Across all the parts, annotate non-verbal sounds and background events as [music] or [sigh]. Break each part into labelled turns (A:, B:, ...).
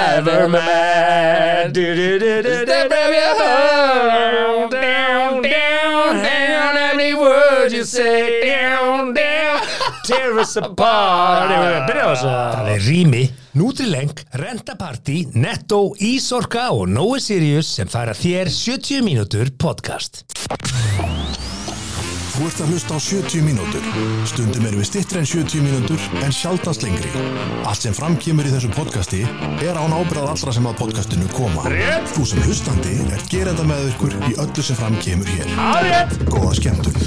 A: ever met. Step of your heart. Down, down, down. Every word you say. Down, down. [laughs] Tear us apart. Eigum við að Byrja á
B: Það
A: þessu.
B: er Rými, Nutrileng, Rentaparty, Netto, Ísorka og Nói Sirius sem færa þér 70 mínútur podcast.
C: Þú ert að hlusta á 70 mínútur. Stundum erum við stittri en 70 mínútur en sjaldast lengri. Allt sem framkemur í þessu podcasti er án ábyrðað allra sem að podcastinu koma. Rétt! Þú sem hlustandi er gerenda með ykkur í öllu sem framkemur hér.
A: Árið.
C: Góða skemmtun.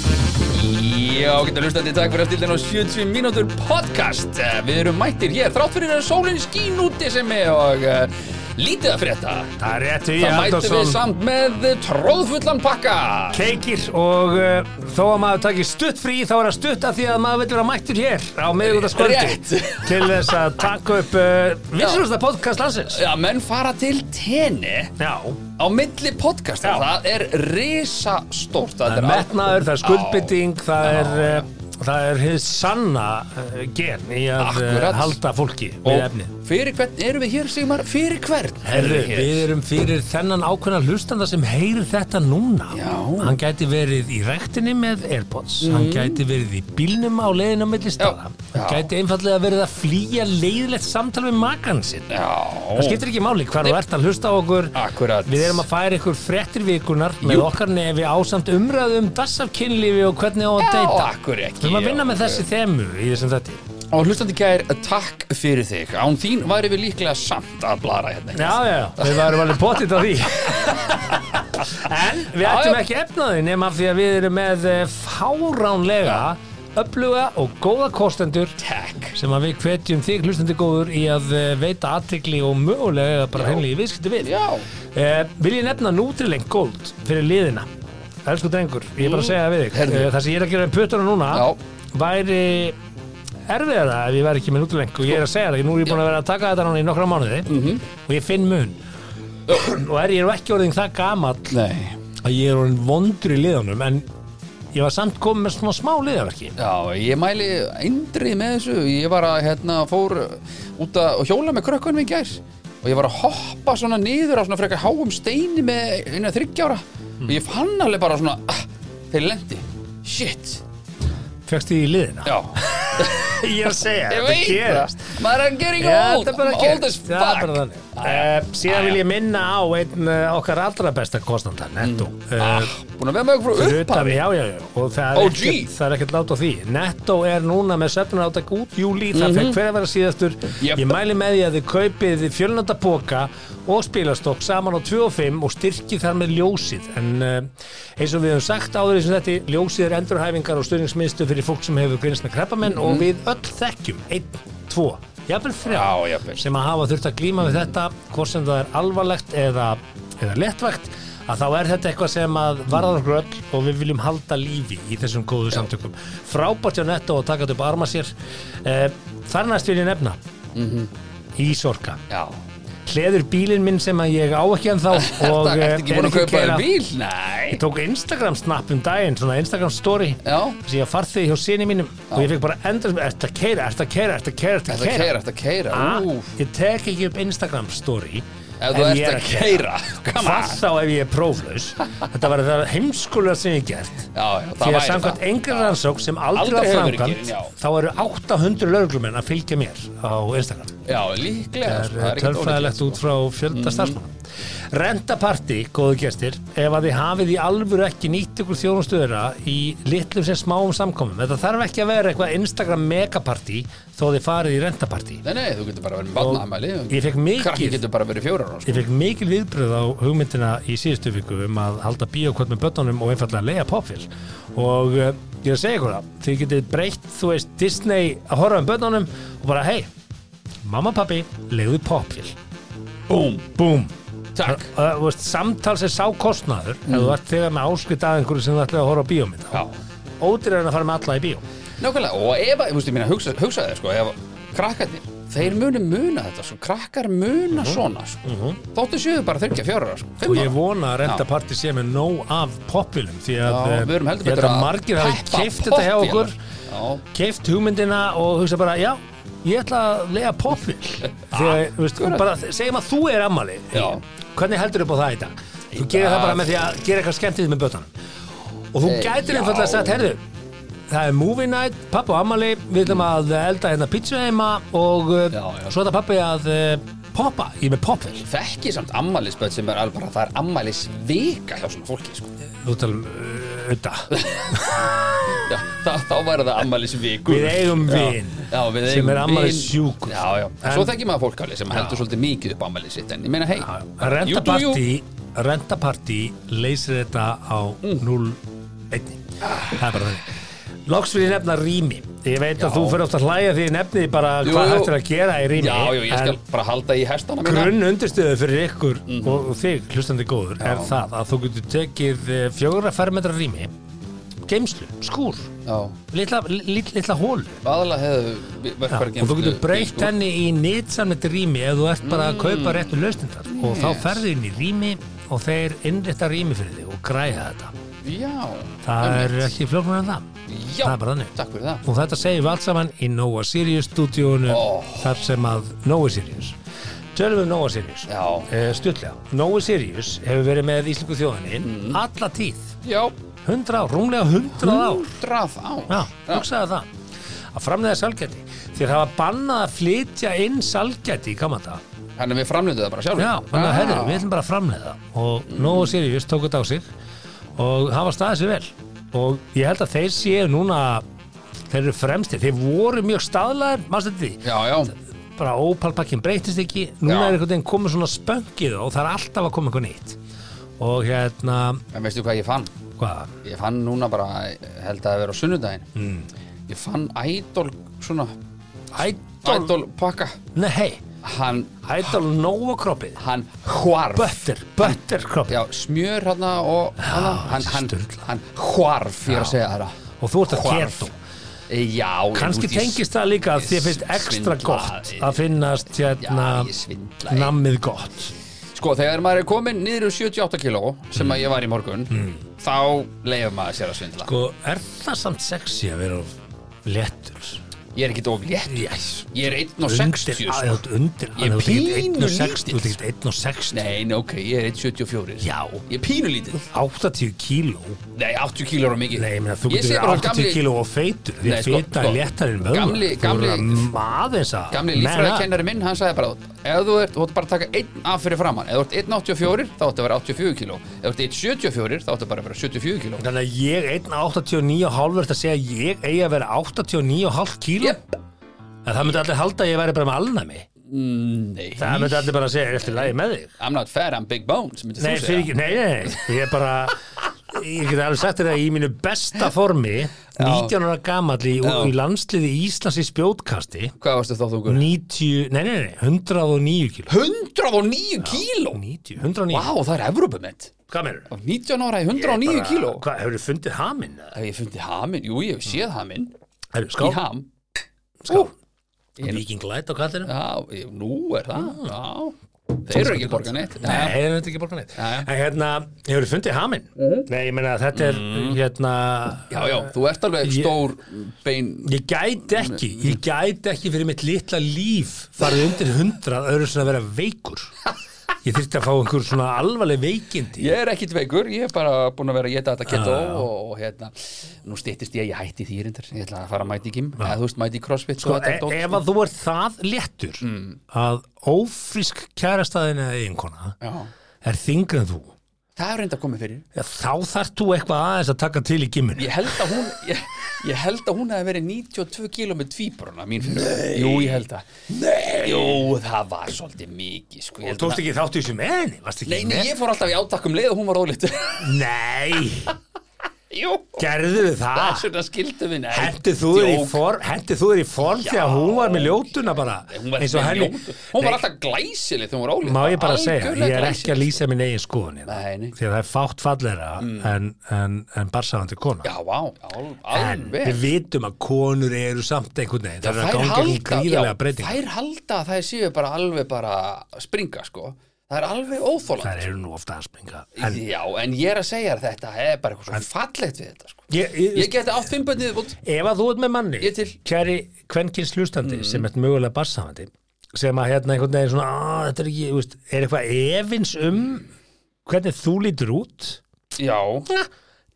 D: Já, getur hlustandi, takk fyrir að stilla nú 70 mínútur podcast Eh, Við erum mættir hér, þrátt fyrir að sólinn skín úti sem er og uh, lítið að frétta
B: Það er rétt,
D: Það
B: Hugi
D: mætum við
B: Haldarsson,
D: samt með tróðfullan pakka
B: keikir og uh, þó að maður takir stutt frí þá er það stutt af því að maður vil vera mættur hér á miðugutaskvöldi
D: Rétt.
B: [laughs] til þess að taka upp uh, vissurasta podcast landsins.
D: Já, menn fara til tenni
B: Já,
D: á milli podcast
B: Já.
D: Það er risastórt
B: það er
D: allt-
B: metnaður, það er skuldbytting, það er... Uh, Það er hins sanna uh, gen í að uh,
D: Akkurat.
B: halda fólki við
D: Og
B: efnið.
D: fyrir hvern erum við hér, Sigmar? Fyrir hvern?
B: Herru,
D: erum við hér?
B: við erum fyrir þennan ákveðna hlustanda sem heyrir þetta núna.
D: Já. Mm.
B: Hann gæti verið í rektinni með Airpods, hann gæti verið í bílnum á leiðinu á milli staða,
D: Já.
B: hann gæti einfallega verið að flýja leiðilegt samtal við makan sinn. Það
D: Já,
B: skiptir ekki máli hvar þú ert að hlusta á okkur.
D: akkurat
B: Við erum að færa ykkur fréttir vikunar með okkar nefi ásamt um umræðum dassafkynlífi og hvernig á að
D: Já,
B: deyta.
D: akkur ekki
B: Við erum að vinna með
D: Já.
B: þessi þemu í þessum þetta.
D: Og hlustandi kær, takk fyrir þig. Án þín væri við líklega samt að blara hérna.
B: Já, já, já, við varum alveg pottitt á því En við
D: Já,
B: ættum
D: já.
B: ekki efnaði nema af því að við erum með eh, fáránlega öfluga og góða kostendur
D: Takk.
B: sem að við hvetjum þig hlustandi góður í að eh, veita aðtikli og mögulega bara henni í viðskipti við
D: Já.
B: Eh, Vil ég nefna Nutrileng Gold fyrir liðina Elsku drengur, ég er bara að segja það við þig
D: Heyrðu.
B: Eh, Það sem ég er að gera um pötuna núna
D: Já.
B: væri erfiðara ef ég væri ekki með Nutrileng og ég er að segja það, nú er ég búin að vera að taka þetta núna í nokkra mánuði -hmm. og ég finn mun og er ég er ekki orðin það gamall
D: Nei.
B: að ég er orðin vondur í liðanum en ég var samt komið með svona smá liðaverki
D: Já, ég mæli eindrið með þessu. Ég var að, hérna, fór út að og hjóla með krökkunum í gær og ég var að hoppa svona niður á svona frekar háum steini með einu að þryggjára og ég fann alveg bara svona, ah, þeir lendi. Shit.
B: Fjöxt í liðina
D: Já.
B: [laughs] Ég er að segja,
D: Ég
B: þetta
D: veit
B: gerast
D: það. Maður er getting
B: Já,
D: old.
B: þetta er bara
D: I'm
B: ekki
D: Old as fuck.
B: Það er bara þannig uh, Síðan vil ég minna á einn uh, okkar allra besta kostnanda, Netto
D: Ah,
B: uh,
D: Oh, Búin að vera með okkur frá
B: fyrir utan-
D: upphafi.
B: Já, já, já Og það er
D: OG.
B: ekkert- það er ekkert lát á því Netto er núna með söfnun átak út júli Það fekk hver að vera síðastur
D: Mhm. Jep.
B: Ég mæli með því að þið kaupið fjölnönda póka og spilastokk saman á 2 og 5 og styrkið þar með ljósið en uh, eins og við höfum sagt áður eins og þetta ljósið er endurhæfingar og stöðningsmiðstu fyrir fólk sem hefur grins með kreppamenn og
D: Mhm.
B: við öll þekkjum 1, 2, jafnvel 3
D: Já, jafnvel.
B: sem að hafa þurft að glíma við þetta hvort sem það er alvarlegt eða, eða lettvægt að þá er þetta eitthvað sem að varðar okkur öll og við viljum halda lífi í þessum góðu samtökum frábært hjá netto og taka þetta upp arma sér eh, þar næst vil ég nefna
D: Mhm.
B: Ísorka
D: Já.
B: hleður bílinn minn sem að ég á ekki
D: [laughs]
B: en þá og
D: Þetta
B: eh,
D: ertu ekki búin
B: er
D: að kaupa
B: keyra.
D: þér bíl? Nei.
B: ég tók Instagram snapp um daginn svona Instagram story
D: Já.
B: þess að ég farð þig hjá sinni mínum og ég fekk bara endur sem, ert að keira, ert að keira, ert að keira, ert að
D: Þetta
B: keira
D: keira, þetta keira.
B: Ah,
D: Úf.
B: ég tek ekki upp Instagram story
D: Ef þú ert að keira. Come
B: hvað
D: on.
B: þá ef ég er próflaus þetta var það heimskulega sem ég gert
D: Já, já, það
B: því að
D: væri
B: samkvæmt
D: það.
B: engri rannsók sem aldrei,
D: Aldrei
B: var
D: hefur verið
B: framkvæmt
D: gerin, já.
B: þá eru 800 lögreglumenn að fylgja mér á Instagram
D: Já, líklega. sko,
B: það er
D: ekkert
B: tölfræðilegt
D: ólíklegt, sko. Mhm.
B: út frá fjölda starfsmanna Rentaparty, góðu gestir ef að þið hafið í alvöru ekki nýtt ykkur þjónustöðra í litlum sem smáum samkomum þetta þarf ekki að vera eitthvað Instagram megaparty þó þið farið í rentaparty
D: sko. Nei, nei, þú getur bara verið með barnaðamæli.
B: ég fékk mikið-
D: Krakki getur bara verið fjórar ára,
B: Ég
D: sko.
B: fekk mikil viðbröð á hugmyndina í síðustu viku um að halda bíókvöld með börnunum og einfallega leiða popfilm og uh, ég er að segja ykkur það þið getið breytt, þú veist, Disney að horfa um börnunum og bara hei mamma, pappi, leiðu popfilm
D: Búm.
B: Búm!
D: Takk.
B: Uh, þú veist, samtals er sá kostnaður ef þú ert þegar með áskrift að einhverju sem þú ætlaði að horfa á bíómynd
D: Mm. Já.
B: Ódýr er að fara með alla í bíó
D: Nákvæmlega, og ef, að- þú veist, ég meina, hugsa, hugsa þér, sko, ef krakkarnir, þeir munu muna þetta, sko. Krakkar muna svona, sko. Þóttu séu bara þryggja fjórar ára, sko.
B: Mhm. og
D: Fimm
B: ég
D: ára.
B: vona að
D: Já.
B: rentaparti sé með nóg af popfilm því að
D: Já,
B: eh,
D: við erum heldur
B: ég held
D: betur
B: að
D: að
B: margir hafi
D: peppa
B: keift þetta hjá
D: poppvélar.
B: okkur
D: Já.
B: keift hugmyndina og hugsa bara já, ég ætla að lega popvill
D: [laughs]
B: þegar, þú veist, og bara segjum að þú er ammali
D: Já.
B: hvernig heldur upp á það í dag þú gerir það
D: dag-
B: bara með því að gera eitthvað skemmtið með bötan og þú
D: Eh,
B: gætir
D: já.
B: einfallega að sagt, herðu það er movie night, pappa og ammali við ætlum að elda hérna pizza heima og já,
D: Mm. Já, já.
B: svo þetta pappi að uh, poppa, ég er með popvill
D: Þekki samt ammælisböð sem er alveg bara, það er ammælisvika hjá svona fólki, sko.
B: þú talum uh, auðvitað,
D: Já, þá, þá væri það ammælisviku.
B: við eigum vin
D: Já, við eigum
B: sem er
D: vin.
B: ammælissjúkur.
D: Já, já.
B: En-
D: Svo þekki maður fólk alveg sem heldur svolítið mikið upp ammælis sitt, en ég meina, hei, you do you.
B: Rentapartí Rentapartí leysir þetta á
D: Mm.
B: 0-1 Það er bara þannig Loks vil ég nefna rými Ég veit að
D: Já.
B: þú fyrir oft að hlæja því ég nefni bara
D: Jú,
B: hvað
D: jú.
B: hægt er að gera í rými
D: Já, já, ég skal Mm. bara halda í hestana
B: En
D: mína.
B: grunn undirstöðu fyrir ykkur og, og þig, hlustandi góður, er það að þú getur tekið eh, fjögurra fermetra rými geimslu, skúr
D: Já,
B: litla, litla, litla hólu
D: aðalega hefðu
B: Já,
D: verkvargin.
B: og þú getur
D: sko.
B: breytt henni í nýtsamlegt rými ef þú ert bara að kaupa réttu lausnindar og þá
D: Mm. Yes.
B: ferðu inn í rými og þeir innrétta rými fyrir þig og græða þetta
D: Já.
B: það er
D: einmitt.
B: ekki flóknur en það
D: Já,
B: það er bara þannig.
D: Takk fyrir það.
B: og þetta segjum við allt saman í Nova Sirius stúdíónu
D: Ó.
B: þar sem að Nova Sirius tölum við Nova Sirius
D: Já.
B: Eh, stuttlega, Nova Sirius hefur verið með Íslingu þjóðinni
D: Mm.
B: alla tíð,
D: Já,
B: 100 ár, rúmlega 100 ár
D: draf á.
B: Já, hugsaðu það að framleiða salgæti þeir hafa bannað að flytja inn salgæti í gamanda
D: Þannig að við framlýndum það bara sjálfur.
B: já, þannig að
D: Ah.
B: herðu, við ætlum bara að framleiða og mm. Nóa Sirius tók þetta á sig og hafa staðið sér vel og ég held að þeir séu núna þeir eru fremstir, þeir voru mjög staðlaðir, mannstu þetta því
D: Já, já.
B: bara ópalpakkin breytist ekki núna
D: Já.
B: er einhvern veginn komið svona spöngið og það er alltaf að koma eitthvað nýtt og hérna,
D: En veistu hvað ég fann?
B: hvað,
D: Ég fann núna bara, ég held að það vera á sunnudaginn
B: Hmm.
D: Ég fann idol svona
B: ædol,
D: Idol pakka
B: nei hei
D: Hann,
B: ædol Nóa kroppið
D: hann hvarf
B: Bötter, bötter kroppið
D: Já, smjör hérna og hana, hann, hann,
B: sturlað.
D: hann hvarf Ég er að segja þetta
B: og þú ert að
D: Hvarf. Eh,
B: keto
D: Já,
B: kannski
D: ég-
B: tengist það líka að
D: ég
B: þið finnst ekstra
D: svindlaði.
B: gott að finnast hérna
D: Já, ég svindlaði.
B: nammið gott
D: Sko, þegar maður er komin niður um 78 kíló sem að ég var í morgun þá leifur maður sér að svindla
B: Hmm. sko, er það samt sexy að vera of léttur
D: Ég er ekki of létt
B: yes.
D: Ég er 1,60
B: undir,
D: sko.
B: að, undir,
D: Ég
B: þú
D: er
B: ert ekkert
D: pínu
B: 1,60,
D: lítill.
B: þú ert ekkert 1,60
D: Nei, nei, ok, ég er 1,74
B: Já.
D: Ég er pínulítið
B: 80 kíló
D: Nei, 80 kíló er of mikið
B: Nei, ég meina, þú
D: Ég
B: getur
D: segi
B: verið
D: bara
B: 80
D: gamli-
B: kíló og feitur því
D: Nei,
B: að
D: sko,
B: feta
D: sko,
B: er léttar en vöður
D: gamli- gamli-
B: maðins að
D: Gamli
B: Man ah. up.
D: líffræðikennari minn, hann sagði bara ef þú ert, þú ert bara að taka einn af fyrir framann ef þú ert 1,84 þá áttu að vera 84 kíló ef þú ert 1,74 þá áttu bara að vera 74 kíló
B: Þannig að ég 1,89,5 verður að segja að ég eigi að vera 89,5 kíló
D: Jep.
B: En það myndi allir halda að ég væri bara með alnæmi
D: Nei,
B: Það myndi allir bara að segja, er eftir lægi með þig
D: I'm not fat, I'm big bones myndi
B: Nei,
D: þú
B: fyrir
D: segja.
B: ekki, nei, nei, nei Ég er bara, ég get alveg sagt þér að í mínu besta formi 19 ára gamall í,
D: Já.
B: í landsliði Íslands í spjótkasti
D: Hvað varstu þá þú guður?
B: 90, nei, nei, nei, 109 kíló
D: 109 kíló
B: 90, 109
D: Vá, það er Evrópumett
B: Hvað meður?
D: Af 19 ára í 109 kíló
B: Hvað, hefur fundið haminn? eða?
D: Hef ég fundið haminn? Jú, ég hef séð haminn
B: Herru,
D: Í
B: ská,
D: ham
B: ská
D: Ég-
B: Viking Light á kallinu
D: Já, ég- nú er það Já Þeir eru ekki borgan eitt
B: Ah. Nei, það er þetta ekki borgan eitt
D: Já, já.
B: En hérna, hefur þið fundið haminn? Nei, ég meina þetta er, hérna
D: Já, já, þú ert alveg
B: Ég-
D: stór bein
B: Ég gæti ekki, ég gæti ekki fyrir mitt litla líf farið undir hundrað öðru svona að vera veikur Ég þyrfti að fá einhver svona alvarleg veikindi
D: Ég er ekkit veikur, ég er bara búin að vera að geta þetta keto og, og hérna, nú stýttist ég, ég hætti því reyndar, ég ætla að fara að mæti í gym, eða þú veist mæti í crossfit
B: Sko,
D: og
B: e
D: þetta dót,
B: ef
D: sko.
B: að þú er það léttur
D: Mm.
B: að ófrísk kærastaðin eða eiginkona
D: Já,
B: er þingri en þú
D: það er reyndar komið fyrir.
B: Já, þá þarft þú eitthvað aðeins að taka til í gimminu
D: Ég held að hún, ég, ég held að hún hefði verið 92 kíló með tvíbruna mín fyrir. Nei. Jú, ég held að. Nei. Jú, það var svolítið mikið, sko. ég held að
B: Tókst
D: það-
B: ekki þáttu í þessu með henni, varst ekki
D: Nei, nei,
B: með
D: ég fór alltaf í átakkum leið og hún var ólitt.
B: Nei,
D: [laughs] Jú,
B: gerðu það
D: þess vegna skildum við, nei.
B: Hendið Ah. þú þér í
D: djók.
B: form Hendið þú þér í form þegar hún var með ljótuna bara
D: Hún var,
B: eins og henni
D: hún var alltaf glæsileg þegar hún var ólitt.
B: Má ég bara segja, ég er ekki að lýsa minn eigin skoðun hérna.
D: sko. Nei, nei.
B: því að það er fátt fallera en, en, en barsafandi kona
D: Já, vá, al-
B: en
D: alveg
B: við vitum að konur eru samt einhvern veginn, það er að
D: Þær
B: ganga ekki
D: já,
B: gríðarlega breyting
D: þær halda að þær séu bara alveg bara að springa sko það er alveg óþóland
B: það eru nú ofta að springa en
D: já, en ég er að segja þér þetta er bara eitthvað svo fallegt við þetta sko.
B: ég, ég,
D: ég geti átt fimm bönnið bútt
B: ef að þú ert með manni
D: Ég til. Mm.
B: kæri kvenkins hlustandi sem ert mögulega barsafandi sem að hérna einhvern veginn svona "Ah, þetta er ekki, þú veist, er eitthvað efins um hvernig þú lítur út
D: já,
B: ja,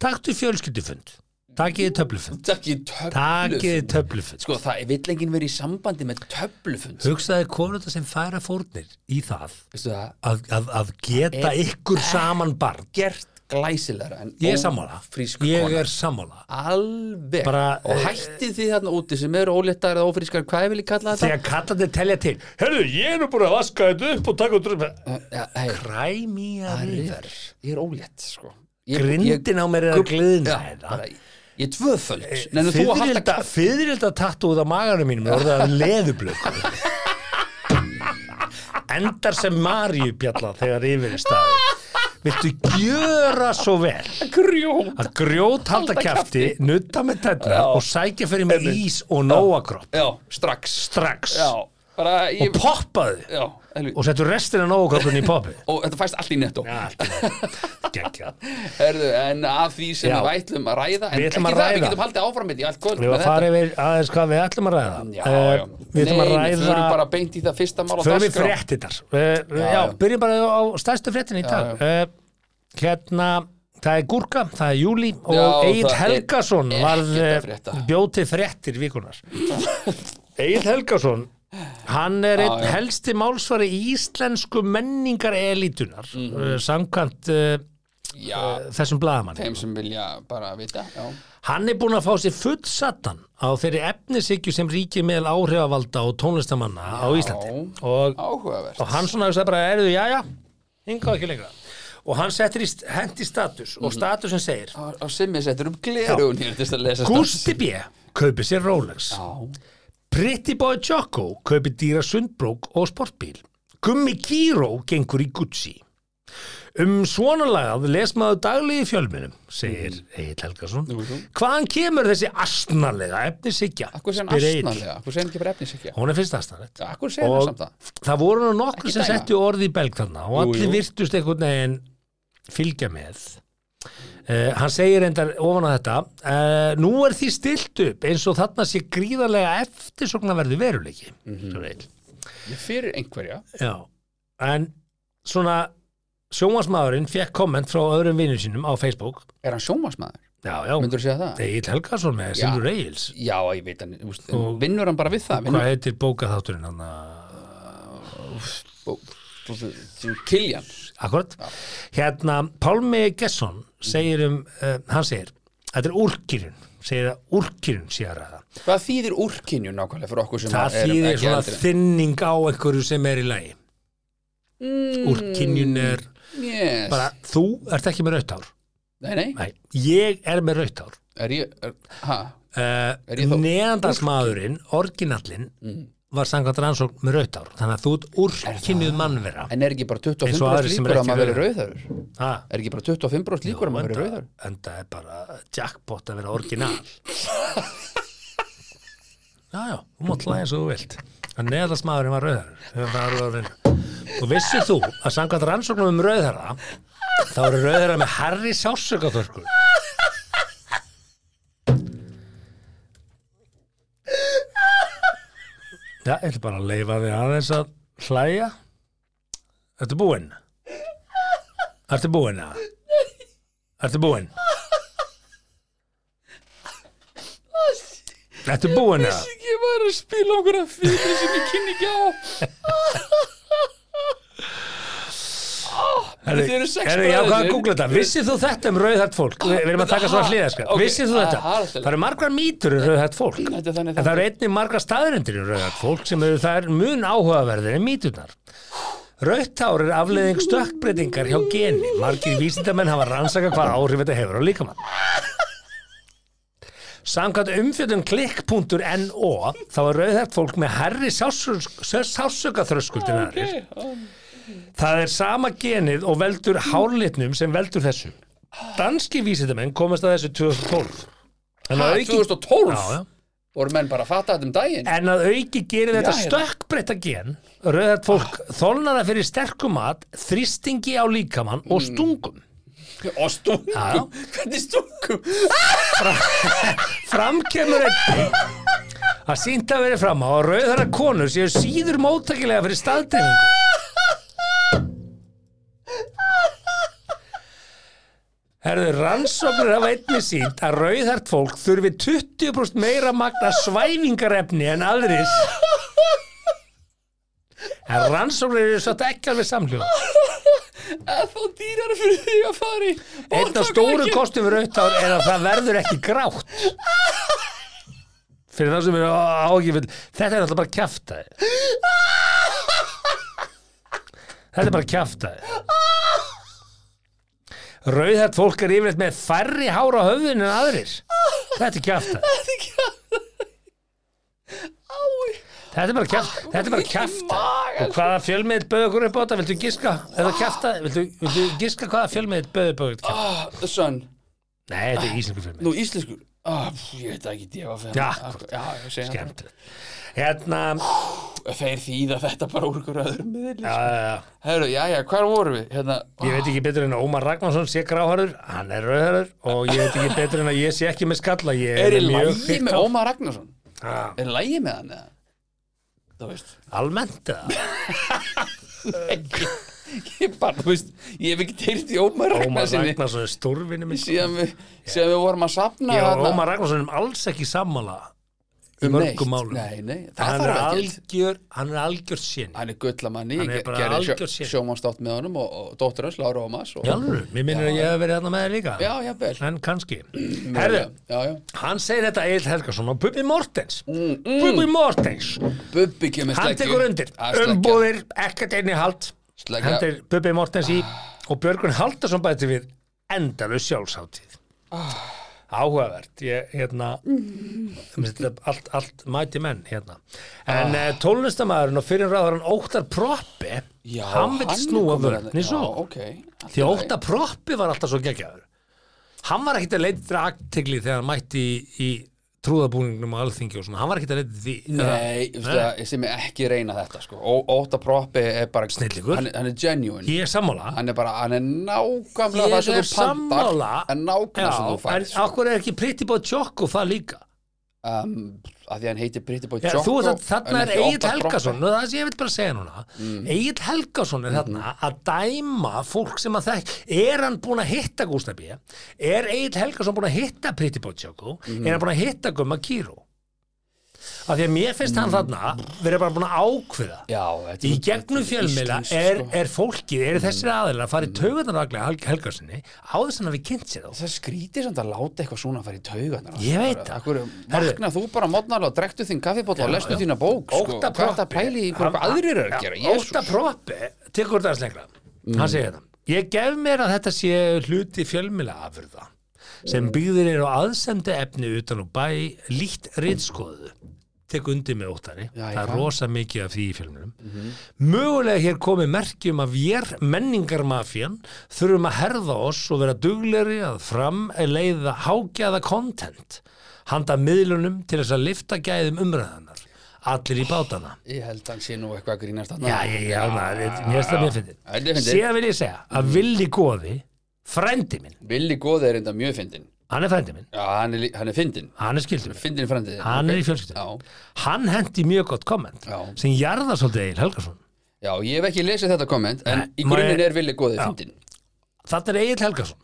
B: taktu fjölskyldufund takiði töflufund
D: takk ég töflu
B: takiði töflufund
D: sko, það vill enginn verið í sambandi með töflufund
B: hugsaði konur þetta sem færa fórnir í það
D: veistu það,
B: að, að, að geta ykkur
D: Eh.
B: saman barn
D: gert glæsilegra en
B: ég er sammála
D: ófrísk
B: ég
D: kona.
B: er sammála
D: alveg
B: Bara, eh,
D: og hætti því þarna úti sem eru óléttar eða ófrískar, hvað vil ég kalla þetta?
B: þegar kallandi telja til herru ég er nú búin að vaska þetta upp og taka út dröfum
D: Ja, Eh, hey,
B: Kræmía
D: River. ég er ólétt sko. Ég-
B: Grindin á mér er að
D: Gubb-
B: gliðna
D: Já,
B: hérna.
D: bara, Ég er tvöföld
B: Eh,
D: Nenni þú að halda
B: Fyðrilda, fyðrilda tattúð á maganum mínum er orðið að leðublöku
D: [laughs]
B: Endar sem Maríu bjalla þegar yfir er staði Viltu gjöra svo vel
D: grjón
B: að grjót halda kjafti, nutta með tætna og sækja fyrir með ís og nóakropp
D: Já, strax
B: strax
D: Já, bara ég
B: og poppaðu
D: Já, elvi
B: og settu restina af nóakroppinu í poppi
D: Og þetta fæst allt í netto
B: Já, allt í lagi. geggjað
D: Herðu, en af því sem
B: Já.
D: við ætlum að ræða En
B: Við ætlum
D: ekki
B: að
D: það, við
B: ræða.
D: getum haldið áfram með því allt kvöld
B: Við varum að
D: með
B: fara yfir aðeins hvað við ætlum að ræða.
D: Já,
B: Eh,
D: já
B: Við ætlum að
D: Nei,
B: ræða...
D: Nei, förum bara beint í það fyrsta mál á
B: Förum við
D: dagskrá.
B: fréttinnar. Uh, já, já,
D: já.
B: byrjum bara á stærstu fréttin í dag. Uh, hérna, það er Gúrka, það er Júli og
D: Já,
B: Egil
D: það er
B: Helgason
D: ekkert
B: varð
D: að
B: eh,
D: frétta.
B: bjótið fréttir
D: [laughs]
B: vikunar. Egil Helgason, hann er
D: Já,
B: einn
D: já.
B: helsti málsvari íslensku menningar elitunar,
D: Mhm.
B: samkvæmt uh,
D: Já,
B: þessum blaðamanni.
D: þeim sem vilja bara vita Já,
B: Hann er búinn að fá sér full satan á þeirri efnisikju sem ríkir meðal áhrifavalda og tónlistamanna á Íslandi og,
D: áhugavert
B: og hann svona hugsaði bara, erðu, já, já hingað ekki lengra og hann settir í, hendi status
D: Mm.
B: og statusin segir
D: Og, og sem ég settur um glerugun hér til þess að lesa
B: Gusti B. kaupir sér Rolex
D: stans.
B: Pretty Boy Choco kaupir dýra sundbrók og sportbíl Gummi Kíró gengur í Gucci Um svona lagað les maður daglegi í fjölminum, segir Egil Helgason.
D: Mhm. jú.
B: Hvaðan kemur þessi astnalega efnisikja?
D: Akkur sem
B: spyr Egill.
D: astnalega, akkur sem ekki bara efnis ekki
B: Hún er fyrst aðstæðanett.
D: Akkur sem er samt það
B: Það voru nú nokkur
D: Ekki
B: sem
D: dæma.
B: settu orði í belg þarna og allir
D: jú.
B: virtust einhvern veginn fylgja með. Uh, hann segir endar ofan að þetta uh, Nú er því stilt upp eins og þarna sé gríðarlega eftirsóknarverðu veruleiki mm
D: Mhm.
B: -hmm.
D: Ég Fyrir einhverja
B: Já, en svona sjónvansmaðurinn fekk komment frá öðrum vinnum sínum á Facebook
D: Er hann sjónvarsmaður?
B: Já, já,
D: Myndur þú segja það?
B: Egil Helgason með
D: Já.
B: Sildur Egils
D: Já, ég veit hann, úst,
B: Og-
D: vinnur hann bara við
B: Hvað
D: það vinnur,
B: heitir bókaþátturinn hann að
D: Ó, þú- þú- þú- Kiljan
B: Akkurat. Hérna, Pálmi Gesson segir um, uh, hann segir, þetta er úrkýrun, segir að úrkýrun sé að ræða.
D: Hvað þýðir úrkinju nákvæmlega fyrir okkur sem
B: Það
D: erum
B: þýðir
D: ekki
B: svona
D: eldri?
B: þinning á einhverju sem er í lagi. Mm. Úrkýrun er
D: Mm, yes.
B: bara, þú ert ekki með rautt hár.
D: Nei, nei,
B: Nei, ég er með rautt hár.
D: er ég er, ha,
B: Uh,
D: Er ég Mm. þó-
B: Neandarsmaðurinn, orginallinn, var samkvæmt rannsókn með rautt hár. Þannig að þú ert úrkýrnuð mannvera.
D: En er ekki bara
B: Eins og
D: 25%
B: aðrir sem eru
D: líkur að
B: ekki
D: maður veri
B: rauðir.
D: rauðarur
B: Ah.
D: Er ekki bara 25% líkur að maður veri rauðarur
B: en það er bara jackpot að vera orginal [laughs] já já, þú mátt hlæða eins og þú vilt en neðalasmaðurinn var rauðar og vissir þú að samkvæmt rannsóknum um rauðara þá eru rauðara með herri sásökaþörkur Já, ég ætla bara að leifa því aðeins að hlæja Ertu búinn? Ertu búinn að? Ertu búinn? Ertu búinn að?
D: Ég var að spila okkur að fyrir sem ég kynni ekki á
B: Herðu,
D: Þið Ah, eru sex
B: herðu, ég ákvað að
D: bræður.
B: googla þetta. Vissir þú þetta um rauðhætt fólk? Við við erum að taka svona
D: Ha,
B: hliðarskap.
D: ah, ok,
B: Vissir þú
D: ha,
B: þetta?
D: ha, allt í lagi.
B: Það eru margar mýtur um rauðhætt fólk.
D: Þetta er þannig
B: En það eru einnig margar staðrendir um rauðhætt fólk sem eru þær mun áhugaverðir en mýturnar. Rauðtár er afleiðing stökkbreytingar hjá geni. Margir vísindamenn hafa rannsaka hvað áhrif þetta hefur á líkamann. Samkvæmt umfjöldun klikk.no þá er rauðhært fólk með herri
D: Ah,
B: sásökaþröskuldin aðrir. Það er sama genið og veldur hárlitnum sem veldur þessu. Danski vísindamenn komast að þessu 2012. En að auki-
D: 2012
B: Já, já.
D: voru menn bara að fatta þetta um daginn
B: En að auki gerir þetta
D: Já, já.
B: stökkbreytta gen Rauðat fólk ah. þolnar það fyrir sterkumat Þrýstingi á líkamann og stungum
D: og stungum,
B: Eh. Já, já.
D: hvernig stungum
B: Fram kemur einn Það sínt að verið fram á að rauðara konur séu síður móttakilega fyrir staðdreifingu. Herðu, rannsóknir hafa einnig sínt að rauðhært fólk þurfi 20% meira magna svæfingarefni en aðris. En rannsóknir eru satt ekki alveg samhljóð.
D: að Eh, þá dýrar fyrir því að fara í
B: Einn af stóru kostum við rauðtár er að það verður ekki grátt. Fyrir það sem er ágifil, þetta er alltaf bara kjaftaði. Þetta er bara kjaftaði. Rauðhært fólk er yfirleitt með færri hár á höfðinu en aðrir. Þetta er kjaftaði. Þetta er bara kjaftaði. Þetta er bara kjaftaði. Og hvaða fjölmiðið bauð okkur upp á þetta? Viltu giska? Þetta kjaftaði. Viltu, viltu giska hvaða fjölmiðið bauð upp á þetta?
D: kjafta Sönn,
B: Nei, þetta er íslensku fjölmiðið.
D: Ah, nú íslenskur ah, pff, ég veit það ekki, ég var fyrir
B: Já,
D: já, ég segi það.
B: Skemmt. Hérna,
D: þeir þýða þetta bara úr ykkur öðrum miðli
B: já, já, já.
D: Herru, já, já, hvar vorum við? Hérna,
B: Ég veit ekki betur en að Ómar Ragnarsson sé gráhörður, hann er rauðhörður og ég veit ekki betur en að ég sé ekki með skalla, ég er,
D: er í
B: mjög
D: lægi
B: fínt
D: með
B: á.
D: Ómar Ragnarsson?
B: Já,
D: Er lægi með hann eða? Það veist
B: Almennt
D: [laughs]
B: eða?
D: ekki Ég bara, þú veist, ég hef ekki teirt í Ómar
B: Ómar
D: Ragnarssoni
B: Ragnarsson er stórvinni minn. Ég
D: síðan við, síðan við vorum að safna
B: og
D: þarna.
B: Ómar Ragnarsson er alls ekki sammála í
D: Um neitt.
B: mörgum málum.
D: Nei, nei, það
B: Hann er
D: þarf ekki
B: algjör, hann er algjör sinni.
D: Hann er gullamanni,
B: Hann er
D: ég
B: bara
D: gerði
B: algjör
D: sjó,
B: sér.
D: sjómanstátt með honum og, og dóttur hans, Lára Ómas og,
B: Jálfur, mér minnir að ég hef verið þarna með þér líka.
D: Já, já, vel
B: En
D: [clears throat]
B: kannski. Herðu,
D: Já, já,
B: hann segir þetta Egil Helgarsson og Bubi Mortens.
D: Mm,
B: Bubi Mortens.
D: Bubbi kemur
B: Hann
D: sleggju.
B: tekur undir,
D: Að sleggja.
B: umbúðir, ekkert einni hald
D: Sleggja. Ah.
B: Hann er Bubbi Mortens í og Björgun Haldarsson bæti við endalu sjálfsáttíð
D: Ah.
B: Áhugavert, ég hérna mér finnst þetta allt, allt mæti menn hérna En ah. tólnestamæðurinn og fyrir ráðurinn Óttar Proppi
D: Já,
B: hann vill snúa
D: komur þarna.
B: vörn eins
D: hérna. Já,
B: og
D: ok Allt í
B: Því
D: lagi.
B: Óttar Proppi var alltaf svo geggjaður Hann var ekkert að leita aðtegli þegar hann mætti í, í trúðabúningnum á alþingi og svona, hann var ekkert að leita því
D: Nei, þú veist það, ég sem er ekki reyna þetta sko. Ó- Óta Proppi er bara
B: Snillingur.
D: hann, er- hann er genuine
B: Ég er sammála
D: Hann er bara, hann er nákvæmlega
B: Ég
D: það sem
B: er
D: þú pantar
B: sammála.
D: En nákvæmlega sem
B: Já,
D: þú sko. fær
B: en okkur er ekki Pretty Boy Choco það líka
D: um, að Því hann heitir Pretty Boy
B: Já,
D: Choco
B: þú, það, þarna
D: en
B: er
D: ekki Mm.
B: Egil
D: Ótta
B: Helgason
D: Proppi.
B: og það sem ég vil bara segja núna Egil Helgason er þarna
D: Mm.
B: að dæma fólk sem að þekk er hann búin að hitta Gústabí er Egil Helgason búin að hitta Pretty Boy Choco
D: Mhm.
B: er hann búin að hitta Gumma Kíró af því að mér finnst hann þarna verið bara búin að ákveða
D: Mm. Já, þetta
B: Í
D: er-
B: gegnum
D: þetta er
B: fjölmiðla
D: íslenskt,
B: er,
D: sko. Mm.
B: er fólkið, eru þessir aðeinar að fara í taugarnaraglega Helgarsinni á þess að við kynnt sér þá
D: Það skrítið samt að láta eitthvað svona að fara í taugarnar á
B: Ég
D: sér.
B: veit
D: Bara,
B: það.
D: akkur,
B: Herðu.
D: Magna þú bara mótnarlega og drekktu þinn kaffibólla og lestu
B: já.
D: þína bók sko.
B: Ótta
D: Hvað er það að pæli í hvað aðrir eru
B: Já,
D: að gera
B: Ótta
D: Jesús. Mm.
B: Proppi tekur þetta aðeins lengra hann segir þetta ég gef mér að þetta sé hluti fjölmila afurða sem byggðir eru á aðsendu efni utan og bæ lítt reytskoðu tek undir með óttari
D: Já, Mhm.
B: það er
D: já.
B: rosa mikið af því í fjölmjölum mögulega hér komið merkjum að við menningarmafjan þurfum að herða oss og vera dugleri að fram leiða hágæða content handa miðlunum til þess að lifta gæðum umræðanar allir í bátana
D: Ég held að hann sé nú eitthvað að grínast þarna.
B: Já, já, já, maður, þetta- mér finnst það mjög
D: Já, þetta er
B: fyndið
D: fyndið. Mhm.
B: Síðan vil ég segja að Villi Góði Frendi minn,
D: Billy Góð er enda mjög fyndin
B: hann er frendi minn
D: Já, hann er, lí- hann er fyndin
B: Hann er skildur minn,
D: Fyndin frændið
B: hann er í fjölskyldu
D: já.
B: Hann hendi mjög gott komment
D: Já.
B: sem jarðar svolítið Egil Helgason
D: já, ég hef ekki lesið þetta komment En
B: Nei,
D: í
B: má
D: grunninn
B: ég-
D: er Billy Góð er fyndin
B: Þetta er Egil Helgason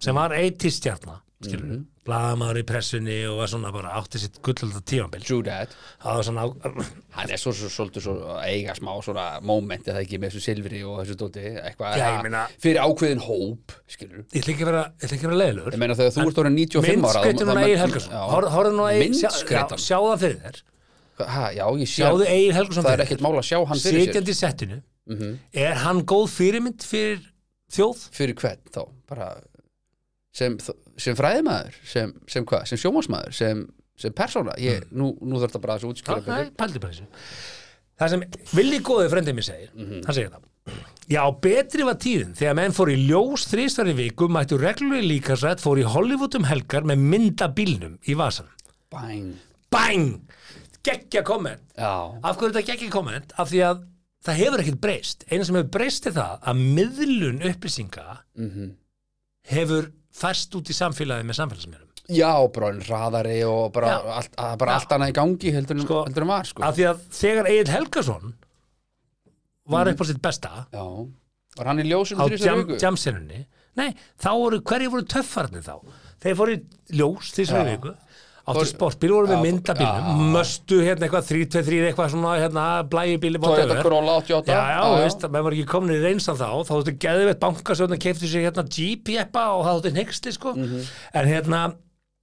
B: sem var eitistjarna skilur
D: Mhm.
B: mm blaðamaður í pressunni og var svona bara átti sitt gullölda tífambil
D: True that
B: það var svona á- [clears throat]
D: Hann er svo, svo, svolítið svo að eiga smá svona moment eða ekki með þessu silfri og þessu dóti
B: Já,
D: eitthvað
B: ég
D: að-
B: meina-
D: fyrir ákveðin hóp skilur
B: ég ætla ekki að vera, ég ætla ekki að vera leiðilegur
D: Ég meina þegar þú ert orðin 95 ára
B: myndskritur núna um Egil
D: Já.
B: Helgason horfðu nú að Egil, sjá, já,
D: Myndskreytan.
B: sjá það fyrir þér
D: Ha, já, ég sé
B: sjáðu Egil Helgason
D: Það
B: fyrir
D: er
B: þér
D: ekkert mál að sjá hann fyrir sér Mhm.
B: sitjandi í settinu er hann góð fyrirmynd fyrir þjóð?
D: Fyrir hvern þá? Bara sem, þ- sem fræðimaður sem, sem hvað? Sem sjómasmaður sem, sem persóna ég,
B: Mm.
D: nú, nú þarf þetta bara að þessu
B: Já,
D: útskjöra
B: það er pældi bara þessu það sem villi góði frendið mér segir hann segir það Já, betri var tíðin þegar menn fór í ljós þrísvar í viku mættu reglulegi líkarsrætt fór í Hollywood um helgar með mynda bílnum í vasan
D: Bæn
B: bang geggja komment
D: Já.
B: af hverju þetta geggja komment af því að það hefur ekkert breyst eina sem hefur breyst er það að miðlun upplýsinga hefur færst út í samfélagi með samfélagsmiðlum
D: Já, bara en hraðari og bara,
B: Já.
D: allt, að- bara allt annað í gangi heldur en,
B: Sko,
D: heldur en var sko.
B: af því að þegar Egil Helgason var upp á sitt besta
D: Já, var hann í ljósum
B: á
D: þrísvar
B: jam,
D: viku?
B: jamsenunni nei, þá voru, hverju voru töffarnir þá þeir fóru í ljós því sem við
D: Já.
B: viku áttu sportbíl, voru
D: Já,
B: með myndabílum möstu hérna eitthvað 323 eitthvað svona hérna blæjubíli
D: Toyota Corolla 88
B: Já, já, þú veist, menn voru ekki komin í reynsan þá þá þóttu geðveitt bankasjóðna keiftu sér hérna Jeep jeppa og það þóttu nexli sko
D: Mhm.
B: en hérna,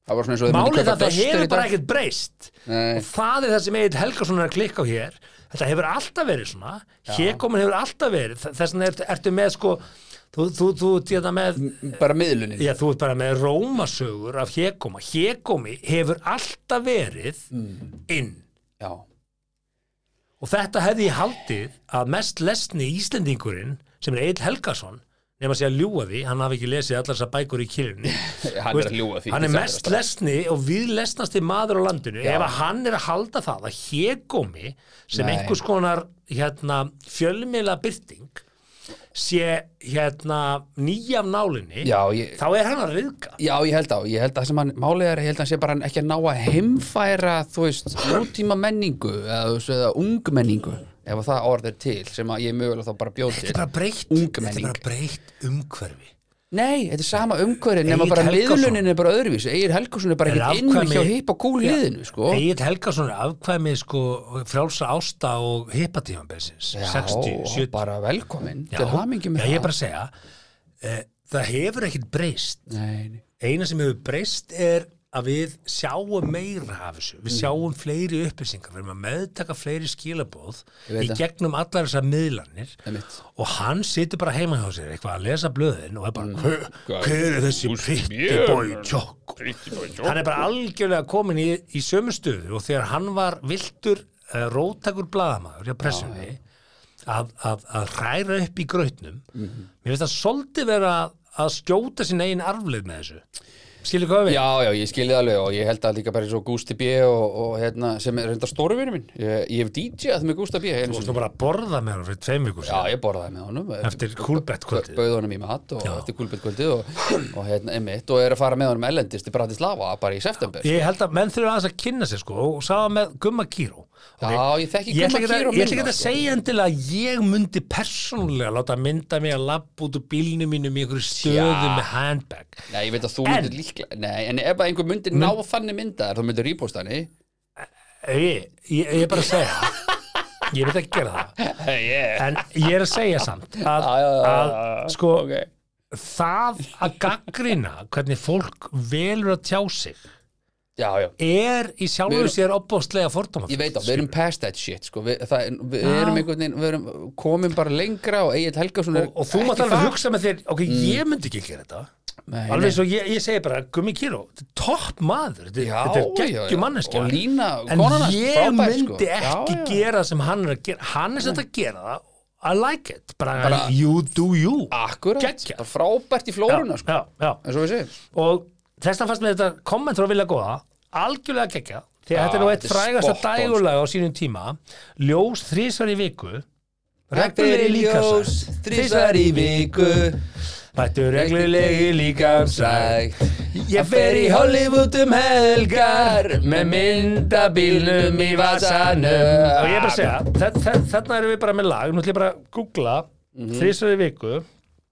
D: Það var svona eins og þeir myndu
B: málið
D: kaupa
B: þetta
D: Duster í
B: hefur
D: dag.
B: bara ekkert breyst
D: Nei.
B: og það er það sem Egil Helgason er að klikka á hér þetta hefur alltaf verið svona hér komin hefur alltaf verið Þa- þess vegna ertu, ertu með sko þú, þú, þú, þú, með,
D: Bara miðlunin
B: já, þú ert bara með rómasögur af hérkoma hérkomi hefur alltaf verið
D: Mm.
B: inn
D: Já,
B: og þetta hefði ég haldið að mest lesni Íslendingurinn sem er Egil Helgason nema sé að ljúga því, hann hafi ekki lesið allar þessar bækur í kýrinni
D: hann er að ljúga því
B: hann er
D: sagði
B: mest
D: þetta.
B: lesni og viðlesnasti maður á landinu ef að hann er að halda það að hérkomi sem
D: Nei.
B: einhvers konar hérna, fjölmiðla byrting sé hérna nýjaf nálinni
D: Já, ég,
B: þá er hann að riðka
D: já, ég held á Ég held að sem hann málið er, ég held að hann sé bara ekki að ná að heimfæra, þú veist, nútíma menningu eða, þú veist, eða ung menningu ef að það orð er til, sem að ég mögulega þá bara bjóð til
B: Þetta er bara breytt,
D: Ung
B: þetta er
D: menning.
B: bara breytt umhverfi
D: Nei, þetta er sama umhverfið nema
B: Egill
D: bara
B: Helgason.
D: miðlunin er bara öðruvísi Egil Helgason er bara
B: Er
D: ekkert inn
B: afkvæmi-
D: hjá hipp og kúl liðinu sko.
B: Egil Helgason er afkvæmið sko frjálsa ásta og hippatífambilsins
D: Já,
B: 60, 70
D: bara velkomin
B: Já,
D: til hamingi
B: já,
D: með
B: ég er bara að segja eh, það hefur ekkert breyst
D: það Nei, nei.
B: eina sem hefur breyst er að við sjáum meira af þessu við
D: Mm.
B: sjáum fleiri upplýsingar við erum að meðtaka fleiri skilabóð
D: Ég veit
B: í
D: það.
B: gegnum allar þessar miðlanir
D: Einmitt.
B: og hann situr bara heima hjá sér eitthvað að lesa blöðin og er
D: Mm.
B: bara hver, hver er þessi prittibói tjók hann er bara algjörlega komin í, í sömu stöðu og þegar hann var viltur uh, róttakur blaðamaður hjá pressunni að, að, að hræra upp í grautnum
D: Mhm.
B: mér finnst það svolítið vera að skjóta sín eigin arflið með þessu skilur hvað við?
D: Já, já, ég skilði alveg og ég held að líka bara eins og Gústi B og, og hérna, sem er reynda stórvinu minn ég, ég hef DJ-að með Gústa B
B: Þú
D: einu sinni.
B: varst nú bara að borða með hann fyrir tveim vikur
D: Já,
B: síðan
D: ég borðaði með honum
B: eftir kúlbettkvöldið
D: bauð honum í mat og eftir kúlbettkvöldið og, og hérna, emitt, og er að fara með honum ellendist í Bratislava bara í september
B: Ég held að menn þurfa aðeins að kynna sér sko og sá það með Gumma Kíró
D: Já, ég þekki
B: Ég ætla ekki
D: Gumma
B: að,
D: Kíró
B: ég ætla
D: minna,
B: ekki að
D: sko.
B: segja endilega að ég myndi persónulega láta mynda mig að labba út úr bílnum mínum í einhverju stöðu
D: Já.
B: með handbag
D: Nei, ég veit að þú
B: En-
D: myndir líklega Nei, en ef að einhver myndir ná þannig myndaðar þú myndir reposta hann eh? í
B: Ég, ég, ég er bara að segja Ég veit ekki gera það
D: yeah.
B: en ég er að segja samt að,
D: Já, já, já, já,
B: að
D: já.
B: sko
D: Ok.
B: það að gaggrina hvernig fólk velur að tjá sig
D: Já, já
B: er í
D: Við
B: sjálfur
D: erum-
B: sér opbóstlega fordóma
D: Ég veit á, við erum past that shit sko. við, það, er- við erum einhvern veginn, við erum komin bara lengra og Egil Helgason er
B: og, og þú mátt
D: ekki
B: alveg
D: þar.
B: hugsa með þér ok, ég myndi ekki gera þetta
D: Nei, nei.
B: alveg svo ég, ég segi bara Gummi Kíró, þetta er topp maður þetta,
D: Já,
B: þetta er
D: já, já.
B: geggjum manneskja
D: Og Lína,
B: en
D: konan hans,
B: ég
D: frábær, sko.
B: myndi
D: Já,
B: ekki
D: já.
B: gera sem hann er að gera hann er sem að gera það I like it, bara,
D: Bara-
B: you do you
D: Akkurat,
B: Geggjað.
D: bara frábært í flóruna sko.
B: já, já,
D: En svo við segjum
B: og þess að fannst með þetta komment frá Vilja Góða algjörlega gegja því að
D: Já,
B: þetta er nú eitt
D: þetta er
B: frægasta
D: spot on, sko.
B: dægulega á sínum tíma ljós þrísvar í viku
D: Þetta
B: reglulegi
D: er í ljós,
B: líkamsrækt
D: þrisvar í viku
B: Mættu reglulegi líkamsrækt Ég fer í Hollywood um helgar með myndabílnum í vasanum Ah. og ég er bara að segja, þe- þe- þarna erum við bara með lag nú ætlum ég bara að googla
D: Mhm.
B: þrísvar í viku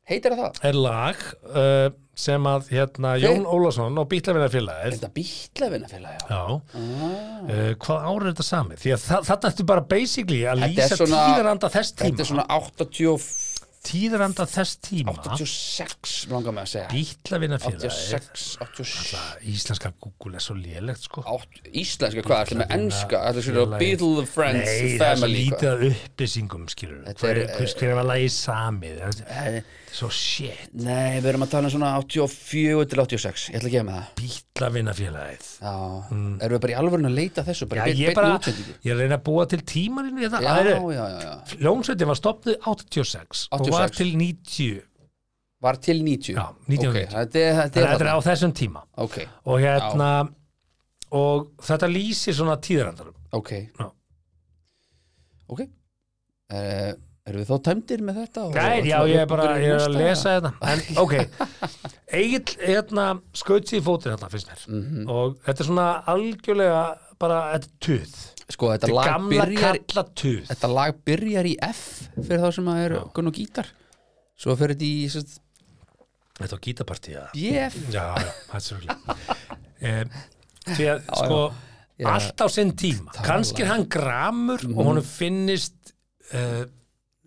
D: Heitir það það?
B: er lag uh, sem að hérna, Jón Ólafsson og Bílavinarfélagið
D: Þetta Ah. býtlafinna félag já.
B: Já, uh, hvað ára er þetta samið? Því að þa þarna ertu bara basically að
D: Þetta er
B: lýsa
D: svona-
B: tíðaranda þess
D: Þetta
B: tíma
D: er svona 84
B: tíðaranda þess tíma
D: 86 langar mig að segja
B: bítlavina félagið
D: 86, 87
B: Íslenska Google er svo lélegt sko
D: átt, Íslenska, hvað, ætlum við enska ætlum við að
B: félagið.
D: Beatle the Friends
B: Nei, það er svo
D: Family
B: lítið
D: hvað?
B: að upplýsingum skilur
D: Þetta
B: hver,
D: er, eh,
B: hver, hver var lagið samið Þetta er Svo shit,
D: Nei, við erum að tala um svona 84 til 86 ég ætla að gefa með það
B: bítlavina félagið
D: Já, erum við bara í alvörun að leita að þessu
B: Mm. Já,
D: bara beinn-
B: ég
D: beinni
B: bara,
D: útsendingu?
B: ég reyna að búa til tímarinn við
D: Já,
B: þetta Æru,
D: já, já, já
B: Ljónsveitin var stopnuð 86 og var
D: 86.
B: til 90
D: Var til 90
B: Já, 1990.
D: Ok, þetta er, þetta
B: Þetta
D: er
B: er á þessum tíma
D: Ok,
B: og hérna og þetta lýsir svona tíðarandarum
D: Ok
B: Já.
D: Ok uh, Erum við þá tæmdir með þetta? og-
B: Gær, já,
D: ætlum við
B: ég er bara
D: byrja
B: ég er að
D: næsta,
B: lesa
D: eða?
B: þetta en, ok, Egil hérna, skaut sér í fótinn hérna, finnst mér
D: Mhm. Mm.
B: og þetta er svona algjörlega bara, þetta er tuð
D: Sko, þetta
B: þetta er
D: lag
B: gamla
D: byrjar
B: kalla tuð
D: Þetta lag byrjar í F fyrir þá sem að er gunn og gítar Svo fyrir þetta í sem sagt,
B: Þetta var gítapartíða
D: BF
B: Já, já, það er svolítið
D: [laughs]
B: um, Því að, sko,
D: Já. Mhm.
B: allt á sinn tíma kannski er hann gramur og honum finnist uh,